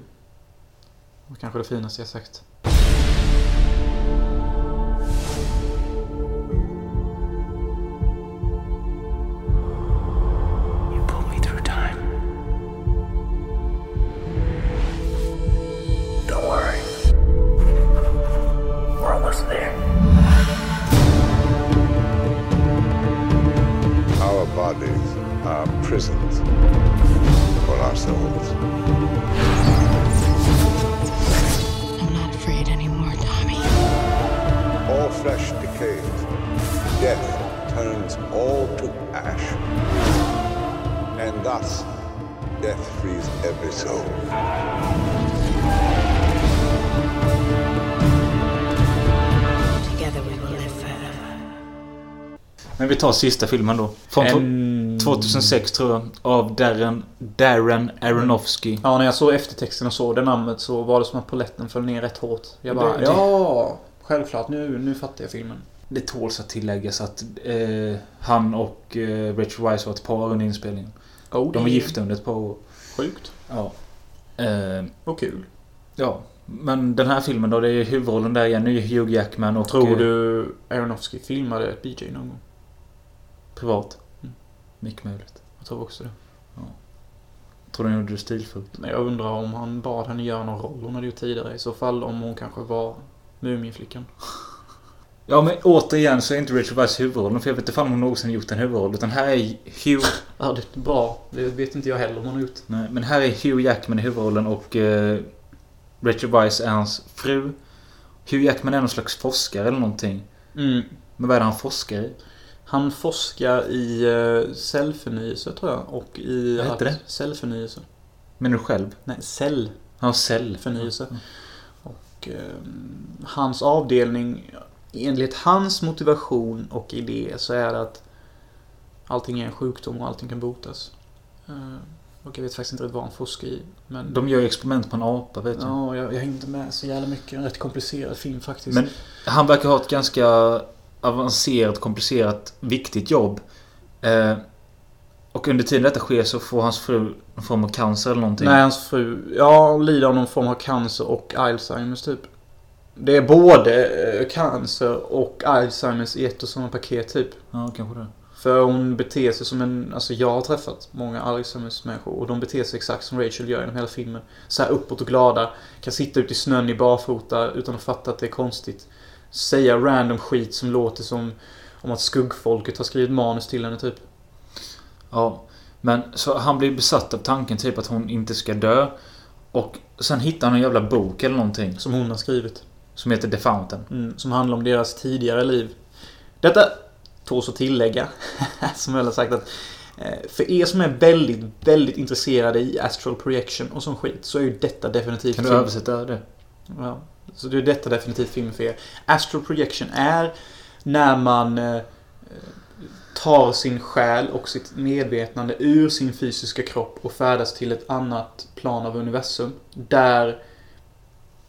A: Och kanske det finaste jag sagt.
D: You pull me through time. Don't worry. We're almost there.
E: Our bodies are prisons for our souls.
F: I'm not afraid anymore, Tommy.
E: All flesh decays. Death turns all to ash. And thus, death frees every soul.
F: Together we will live forever.
B: Men vi tar sista filmen då. Från to- 2006 tror jag. Av Darren, Darren Aronofsky.
A: Ja, när jag såg eftertexten och såg det namnet så var det som att poletten föll ner rätt hårt. Jag bara,
B: Det- det-
A: ja! Självklart, nu, nu fattar jag filmen.
B: Det tåls att tilläggas att eh, han och eh, Rachel Weisz var ett par under inspelningen.
A: Oh,
B: De var gifta under ett par år.
A: Sjukt.
B: Ja. Eh,
A: Och kul.
B: Ja. Men den här filmen då, det är huvudrollen där igen. Nu är Hugh Jackman och...
A: Tror
B: eh,
A: du Aronofsky filmade ett BJ någon gång?
B: Privat. Mycket möjligt.
A: Jag tror också det.
B: Tror du han gjorde det stilfullt?
A: Men jag undrar om han bad henne göra någon roll hon hade gjort tidigare. I så fall om hon kanske var Muminflickan.
B: Ja men återigen så är inte Rachel Weisz huvudrollen. För jag vet inte fan om hon någonsin gjort en huvudroll. Utan här är Hugh...
A: Ja, det är bra. Det vet inte jag heller om hon har gjort.
B: Nej, men här är Hugh Jackman i huvudrollen och eh, Rachel Weisz är hans fru. Hugh Jackman är någon slags forskare eller någonting.
A: Mm.
B: Men vad är det han forskar i?
A: Han forskar i eh, cellförnyelse tror jag. Och i...
B: Vad heter
A: att-
B: det?
A: Cellförnyelse.
B: Menar du själv?
A: Nej, cell.
B: Han har cell.
A: förnyelse.
B: Mm,
A: Och eh, hans avdelning, enligt hans motivation och idé så är det att allting är en sjukdom och allting kan botas. Eh, och jag vet faktiskt inte riktigt vad han forskar i. Men
B: De gör ju experiment på en apa vet jag.
A: ja, jag, jag hängde inte med så jävla mycket. En rätt komplicerad film faktiskt.
B: Men han verkar ha ett ganska avancerat, komplicerat, viktigt jobb. Eh, och under tiden detta sker så får hans fru någon form av cancer eller någonting.
A: Nej, hans fru ja, lider av någon form av cancer och Alzheimers typ. Det är både eh, cancer och Alzheimers i ett och samma paket typ.
B: Ja, kanske det.
A: För hon beter sig som en... Alltså jag har träffat många Alzheimers-människor och de beter sig exakt som Rachel gör genom hela filmen. Så här uppåt och glada. Kan sitta ute i snön i barfota utan att fatta att det är konstigt. Säga random skit som låter som om att skuggfolket har skrivit manus till henne typ.
B: Ja. Men så han blir besatt av tanken typ att hon inte ska dö. Och sen hittar han en jävla bok eller någonting.
A: Som hon har skrivit.
B: Som heter The Fountain.
A: Mm, som handlar om deras tidigare liv. Detta tåls att tillägga, [laughs] som jag har sagt att eh, för er som är väldigt, väldigt intresserade i astral projection och sån skit så är ju detta definitivt
B: Kan du
A: film.
B: översätta det?
A: Ja. Så det är detta definitivt film för er. Astral projection är när man eh, tar sin själ och sitt medvetande ur sin fysiska kropp och färdas till ett annat plan av universum. Där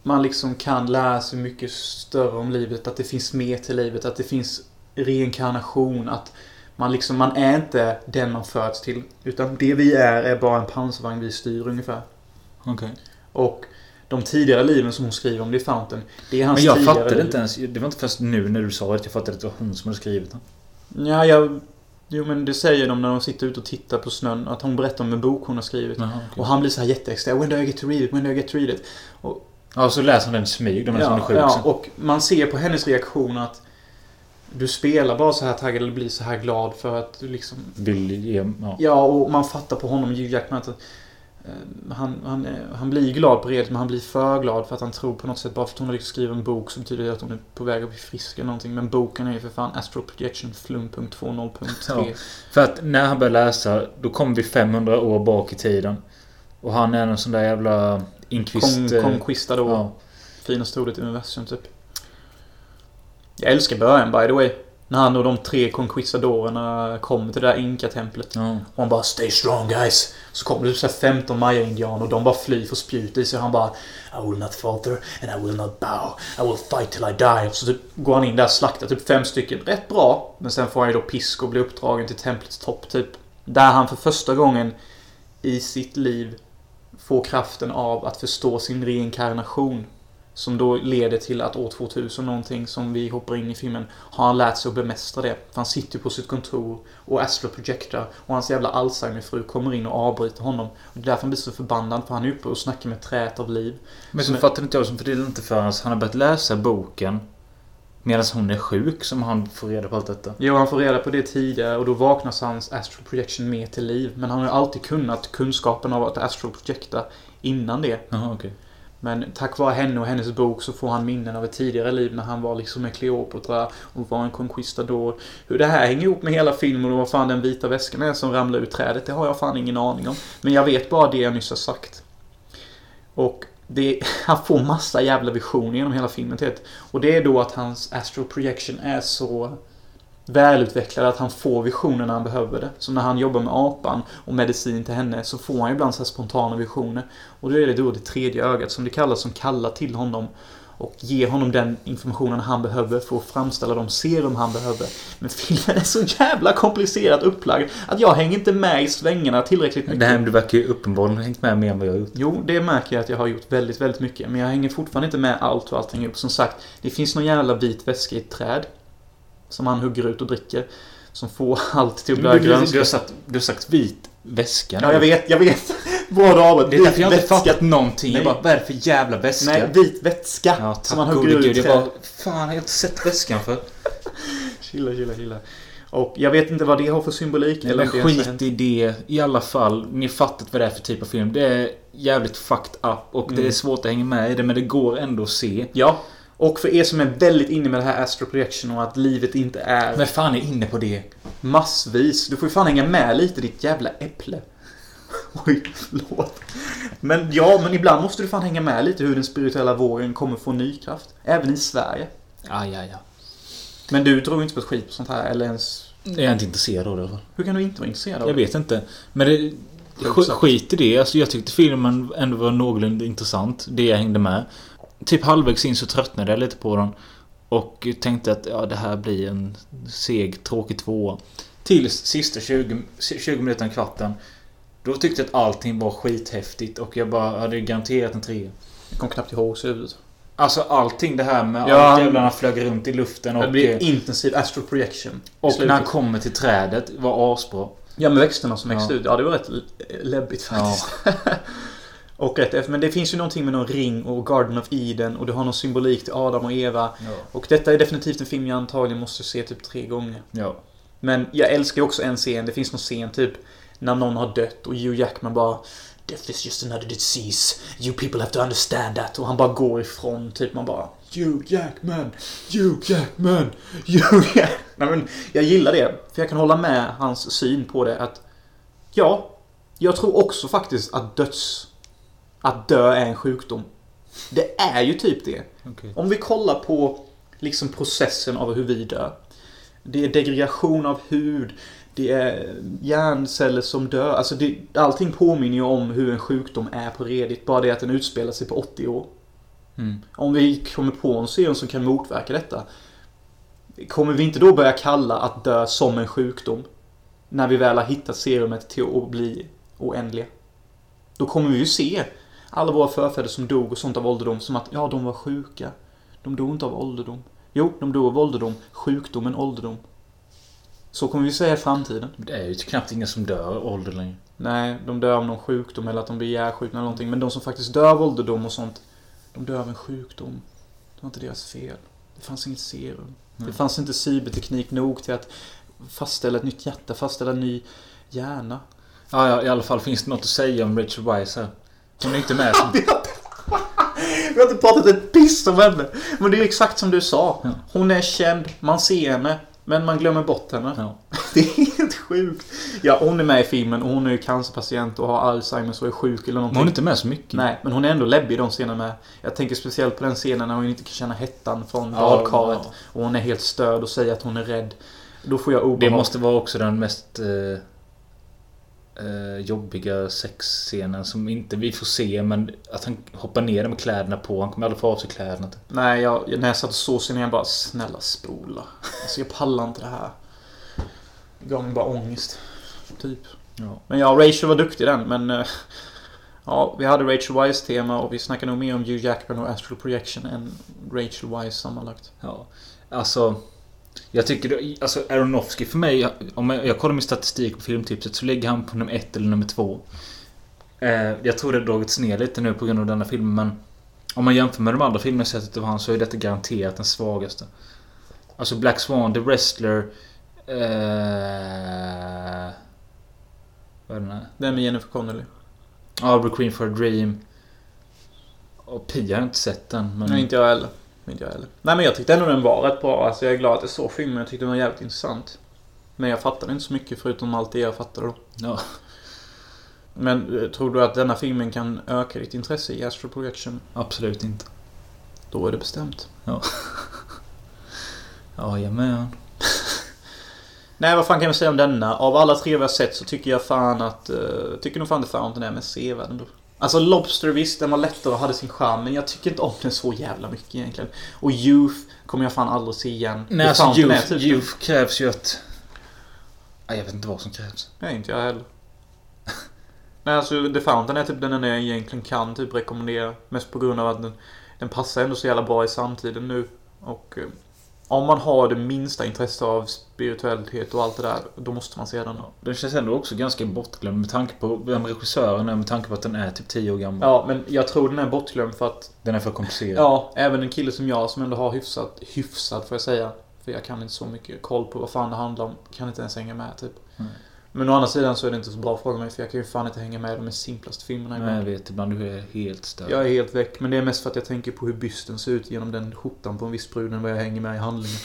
A: man liksom kan lära sig mycket större om livet, att det finns mer till livet, att det finns reinkarnation, att man liksom, man är inte den man föds till. Utan det vi är, är bara en pansarvagn vi styr ungefär.
B: Okej.
A: Och de tidigare liven som hon skriver om i Fountain, det är hans
B: Men jag
A: tidigare
B: fattade
A: liv.
B: inte ens. Det var inte först nu när du sa det att jag fattade att det var hon som hade skrivit den.
A: Ja, jag... Jo, men det säger de när de sitter ute och tittar på snön, att hon berättar om en bok hon har skrivit.
B: Jaha,
A: Och han blir så här jätteextra. When do I get to read it? When do I get to read it?
B: Ja, så läser han den i smyg. De är som är
A: Ja,
B: sjuk
A: ja,
B: sen.
A: och man ser på hennes reaktion att du spelar bara så här taggad eller blir så här glad för att du liksom...
B: Vill ge... Ja.
A: Ja, och man fattar på honom, Hugh Jackman, att eh, han, han, eh, han blir glad på redet, men han blir för glad för att han tror på något sätt bara för att hon har lyckats skriva en bok så betyder det att hon är på väg att bli frisk eller någonting. Men boken är ju för fan Astral Projection
B: Ja.
A: flum.20.3.
B: För att när han börjar läsa, då kommer vi 500 år bak i tiden. Och han är en sån där jävla inkvist...
A: Con,
B: eh,
A: Conquistador.
B: ja.
A: Finaste ordet i universum, typ. Jag älskar början, by the way. När han och de tre Conquistadorerna kommer till det där Inka-templet.
B: ja.
A: Och han bara “Stay strong guys”. Så kommer det så här 15 maya-indianer och de bara flyr för spjut i sig. Han bara “I will not falter and I will not bow. I will fight till I die”. Så typ går han in där och slaktar typ fem stycken. Rätt bra. Men sen får han ju då pisk och blir uppdragen till templets topp typ. Där han för första gången i sitt liv får kraften av att förstå sin reinkarnation. Som då leder till att år 2000 någonting som vi hoppar in i filmen har han lärt sig att bemästra det. För han sitter ju på sitt kontor och Astro Projector och hans jävla Alzheimer-fru kommer in och avbryter honom. Och det är därför han blir så förbannad för han är uppe och snackar med träet av liv.
B: Men så
A: Som är-
B: fattar inte jag som för det är inte förrän han har börjat läsa boken. Medan hon är sjuk som han får reda på allt detta.
A: Jo, han får reda på det tidigare och då vaknas hans Astral Projection mer till liv. Men han har ju alltid kunnat kunskapen av att Astral Projecta innan det.
B: Jaha, okej.
A: Men tack vare henne och hennes bok så får han minnen av ett tidigare liv när han var liksom en Kleopatra och var en conquistador. Hur det här hänger ihop med hela filmen och vad fan den vita väskan är som ramlar ur trädet, det har jag fan ingen aning om. Men jag vet bara det jag nyss har sagt. Och det, [laughs] han får massa jävla visioner genom hela filmen. Ted. Och det är då att hans astral projection är så välutvecklad att han får visioner när han behöver det. Som när han jobbar med apan och medicin till henne så får han ibland så här spontana visioner. Och då är det då det tredje ögat som det kallas som kallar till honom. och ge honom den informationen han behöver för att framställa de serum han behöver. Men filmen är så jävla komplicerat upplagd att jag hänger inte med i svängarna tillräckligt mycket.
B: Det här, du verkar ju uppenbarligen hängt med mer än vad jag har gjort.
A: Jo, det märker jag att jag har gjort väldigt, väldigt mycket. Men jag hänger fortfarande inte med allt och allting upp. Som sagt, det finns någon jävla vit väska i ett träd. Som han hugger ut och dricker. Som får [laughs] allt till att
B: Du,
A: börja
B: du, du, har
A: grönska.
B: sagt, du har sagt vit väska.
A: Ja, jag vet, jag vet. [laughs] Bra du avbröt.
B: Det är därför jag inte
A: Vit väska.
B: fattat någonting.
A: Nej.
B: Jag bara, vad är det för jävla väska?
A: Nej, vit vätska.
B: Ja,
A: som
B: tack
A: han
B: gode
A: hugger ut
B: gud.
A: i
B: Jag
A: träd.
B: bara, fan har jag inte sett väskan för?
A: Chilla, chilla, chilla. Och jag vet inte vad det har för symbolik.
B: Nej, men
A: om det ens är en-
B: skit i det. I alla fall, ni har fattat vad det är för typ av film. Det är jävligt fucked up och det är svårt att hänga med i det, men det går ändå att se.
A: Ja. Och för er som är väldigt inne med det här astral projection och att livet inte är
B: Men fan är inne på det?
A: massvis. Du får ju fan hänga med lite ditt jävla äpple. [laughs] Oj, förlåt. Men ja, men ibland måste du fan hänga med lite hur den spirituella vågen kommer få ny kraft. Även i Sverige.
B: Aj, aj, aj.
A: Men du tror ju inte på ett skit på sånt här eller ens...
B: Jag är inte intresserad av det i alla fall.
A: Hur kan du inte vara intresserad av
B: Jag
A: det?
B: vet inte. Men det, sk, skit i det. Alltså, jag tyckte filmen ändå var någorlunda intressant. Det jag hängde med. Typ halvvägs in så tröttnade jag lite på den. Och tänkte att ja, det här blir en seg, tråkig tvåa. Till sista 20, 20 minuterna, kvarten. Då tyckte jag att allting var skithäftigt och jag bara hade garanterat en trea.
A: Jag kom knappt ihåg så ut.
B: Alltså allting det här med
A: Ja,
B: att
A: han-
B: jävlarna flög runt i luften och,
A: Det blir
B: och,
A: intensiv astral projection. i
B: när
A: slutet.
B: han kommer till trädet var asbra.
A: Ja, med växterna som växte
B: Ja.
A: ut. Ja, det var rätt läbbigt faktiskt. [laughs] och rätt efter. Men det finns ju någonting med någon ring och Garden of Eden och du har någon symbolik till Adam och Eva. Och detta är definitivt en film jag antagligen måste se typ tre gånger.
B: Ja.
A: Men jag älskar ju också en scen. Det finns någon scen typ när någon har dött och Hugh Jackman bara Death is just another disease. You people have to understand that. Och han bara går ifrån. Typ man bara Hugh Jackman! Hugh Jackman! [laughs] Hugh Jackman! Nej, men jag gillar det. För jag kan hålla med hans syn på det att Ja, jag tror också faktiskt att döds... Att dö är en sjukdom. Det är ju typ det.
B: Okej.
A: Om vi kollar på liksom processen av hur vi dör. Det är degradation av hud. Det är hjärnceller som dör. Alltså det, allting påminner ju om hur en sjukdom är på redigt. Bara det att den utspelar sig på 80 år.
B: Mm.
A: Om vi kommer på en serum som kan motverka detta. Kommer vi inte då börja kalla att dö som en sjukdom? När vi väl har hittat serumet till att bli oändliga. Då kommer vi ju se alla våra förfäder som dog och sånt av ålderdom som att ja, de var sjuka. De dog inte av ålderdom. Jo, de dog av ålderdom. Sjukdomen ålderdom. Så kommer vi säga i framtiden.
B: Det är ju knappt inga som dör av ålder längre.
A: Nej, de dör av någon sjukdom eller att de blir ihjälskjutna eller någonting. Men de som faktiskt dör av ålderdom och sånt, de dör av en sjukdom. Det var inte deras fel. Det fanns inget serum. Det fanns inte cyberteknik nog till att fastställa ett nytt hjärta, fastställa en ny [laughs] hjärna.
B: Ja, ja, i alla fall finns det något att säga om Rachel Weisz här. Hon är inte med. Som...
A: Vi har inte pratat ett piss om henne! Men det är ju exakt som du sa. Hon är känd, man ser henne, men man glömmer bort henne.
B: Ja.
A: [laughs] Det är helt sjukt. Ja, hon är med i filmen och hon är ju cancerpatient och har Alzheimers och är sjuk eller
B: Men
A: någonting.
B: hon är inte med så mycket.
A: Nej, men hon är ändå läbbig i de scenerna med. Jag tänker speciellt på den scenen när hon inte kan känna hettan från
B: Ja,
A: badkaret.
B: ja.
A: Och hon är helt störd och säger att hon är rädd. Då får jag
B: Det
A: obehag.
B: måste vara också den mest eh, eh, jobbiga sexscenen som inte vi får se. Men att han hoppar ner där med kläderna på. Han kommer aldrig få av sig kläderna. typ.
A: Nej, jag, när jag satt och såg scenen jag bara Snälla spola. Alltså jag pallar inte det här. Det gav mig bara ångest. Typ.
B: Ja.
A: Men ja, Rachel var duktig i den, men... eh, Ja, vi hade Rachel Wise tema och vi snackade nog mer om Hugh Jackman och Astral Projection än Rachel Wise sammanlagt.
B: Ja. Alltså. Jag tycker det- alltså Aronofsky för mig, om jag, jag kollar min statistik på filmtipset så ligger han på nummer ett eller nummer två. Eh, jag tror det har dragits ner lite nu på grund av denna filmen men om man jämför med de andra filmerna jag sett utav han så är detta garanterat den svagaste. Alltså Black Swan, The Wrestler... Eh, vad är den här?
A: Den med Jennifer Connelly.
B: Arbor Queen for a Dream. Och Pia har jag inte sett den men...
A: Nej, inte jag heller. Inte jag heller. Nej, men jag tyckte ändå den var rätt bra. Alltså, jag är glad att jag såg filmen. Jag tyckte den var jävligt intressant. Men jag fattade inte så mycket förutom allt det jag fattade då.
B: Ja.
A: Men eh, tror du att denna filmen kan öka ditt intresse i Astro Projection?
B: Absolut inte.
A: Då är det bestämt.
B: Ja, jag med.
A: Nej, vad fan kan vi säga om denna? Av alla tre vi har sett så tycker jag fan att... eh, tycker nog fan The Fountain är mest sevärd ändå. Alltså Lobster visst, den var lättare och hade sin charm, men jag tycker inte om den så jävla mycket egentligen. Och Youth kommer jag fan aldrig se igen.
B: Nej,
A: The
B: alltså
A: Fountain
B: youth,
A: är typ-
B: youth krävs ju att... Nej, jag vet inte vad som krävs.
A: Nej, inte jag heller. [laughs] Nej, alltså The Fountain är typ den enda jag egentligen kan typ rekommendera. Mest på grund av att den, den passar ändå så jävla bra i samtiden nu. Och eh, om man har det minsta intresse av spiritualitet och allt det där, då måste man se den.
B: Den känns ändå också ganska bortglömd med tanke på vem regissören är, med tanke på att den är typ 10 år gammal.
A: Ja, men jag tror den är bortglömd för att
B: Den är för komplicerad.
A: Ja, även en kille som jag som ändå har hyfsat, hyfsat får jag säga. För jag kan inte så mycket koll på vad fan det handlar om. Kan inte ens hänga med typ.
B: Nej.
A: Men å andra sidan så är det inte så bra att fråga mig för jag kan ju fan inte hänga med i de simplaste filmerna.
B: Men jag vet, ibland du är helt störd.
A: Jag är helt väck, men det är mest för att jag tänker på hur bysten ser ut genom den skjortan på en viss brud än vad jag hänger med i handlingen.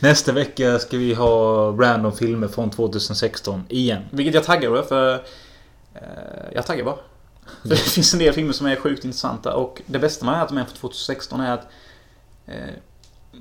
B: Nästa vecka ska vi ha random filmer från 2016 igen.
A: Vilket jag taggar över för... Eh, jag taggar bara. För det finns en del filmer som är sjukt intressanta och det bästa med att de är från 2016 är att eh,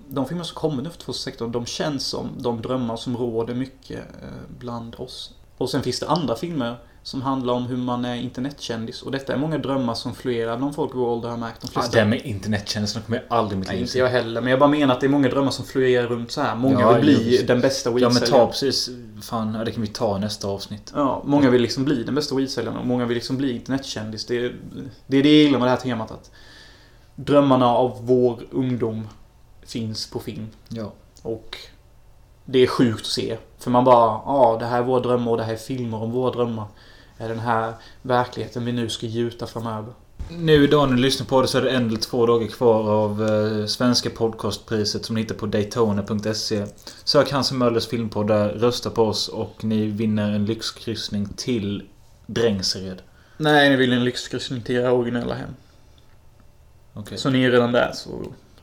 A: de filmer som kommer nu för 2016, de känns som de drömmar som råder mycket eh, bland oss. Och sen finns det andra filmer som handlar om hur man är internetkändis. Och detta är många drömmar som flera bland folk i vår ålder har märkt. De
B: Fast
A: flesta
B: det här med internetkänslan kommer jag aldrig i mitt
A: Nej,
B: liv
A: inte
B: se.
A: jag heller. Men jag bara menar att det är många drömmar som florerar runt så här. Många
B: Ja,
A: vill bli
B: jo,
A: den bästa
B: Ja men ta
A: weedsäljaren.
B: precis, fan, ja, det kan vi ta i nästa avsnitt.
A: Ja, många vill liksom bli den bästa weedsäljaren och många vill liksom bli internetkändis. Det är det, är det jag gillar med det här temat. Att drömmarna av vår ungdom finns på film.
B: Ja.
A: Och det är sjukt att se. För man bara, ja ah, det här är våra drömmar och det här är filmer om våra drömmar. Det är den här verkligheten vi nu ska gjuta framöver.
B: Nu idag när ni lyssnar på det så är det en eller två dagar kvar av eh, svenska podcastpriset som ni hittar på Daytona.se. Sök Hans Möllers filmpodd där, rösta på oss och ni vinner en lyxkryssning till Drängsered.
A: Nej, ni vill en lyxkryssning till era originella hem.
B: Okej.
A: Så ni är redan där så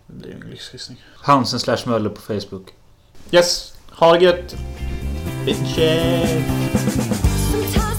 A: det blir en lyxkryssning.
B: Hansen slash Möller på Facebook.
A: Yes. Ha det gött. Bitches.
G: Sometimes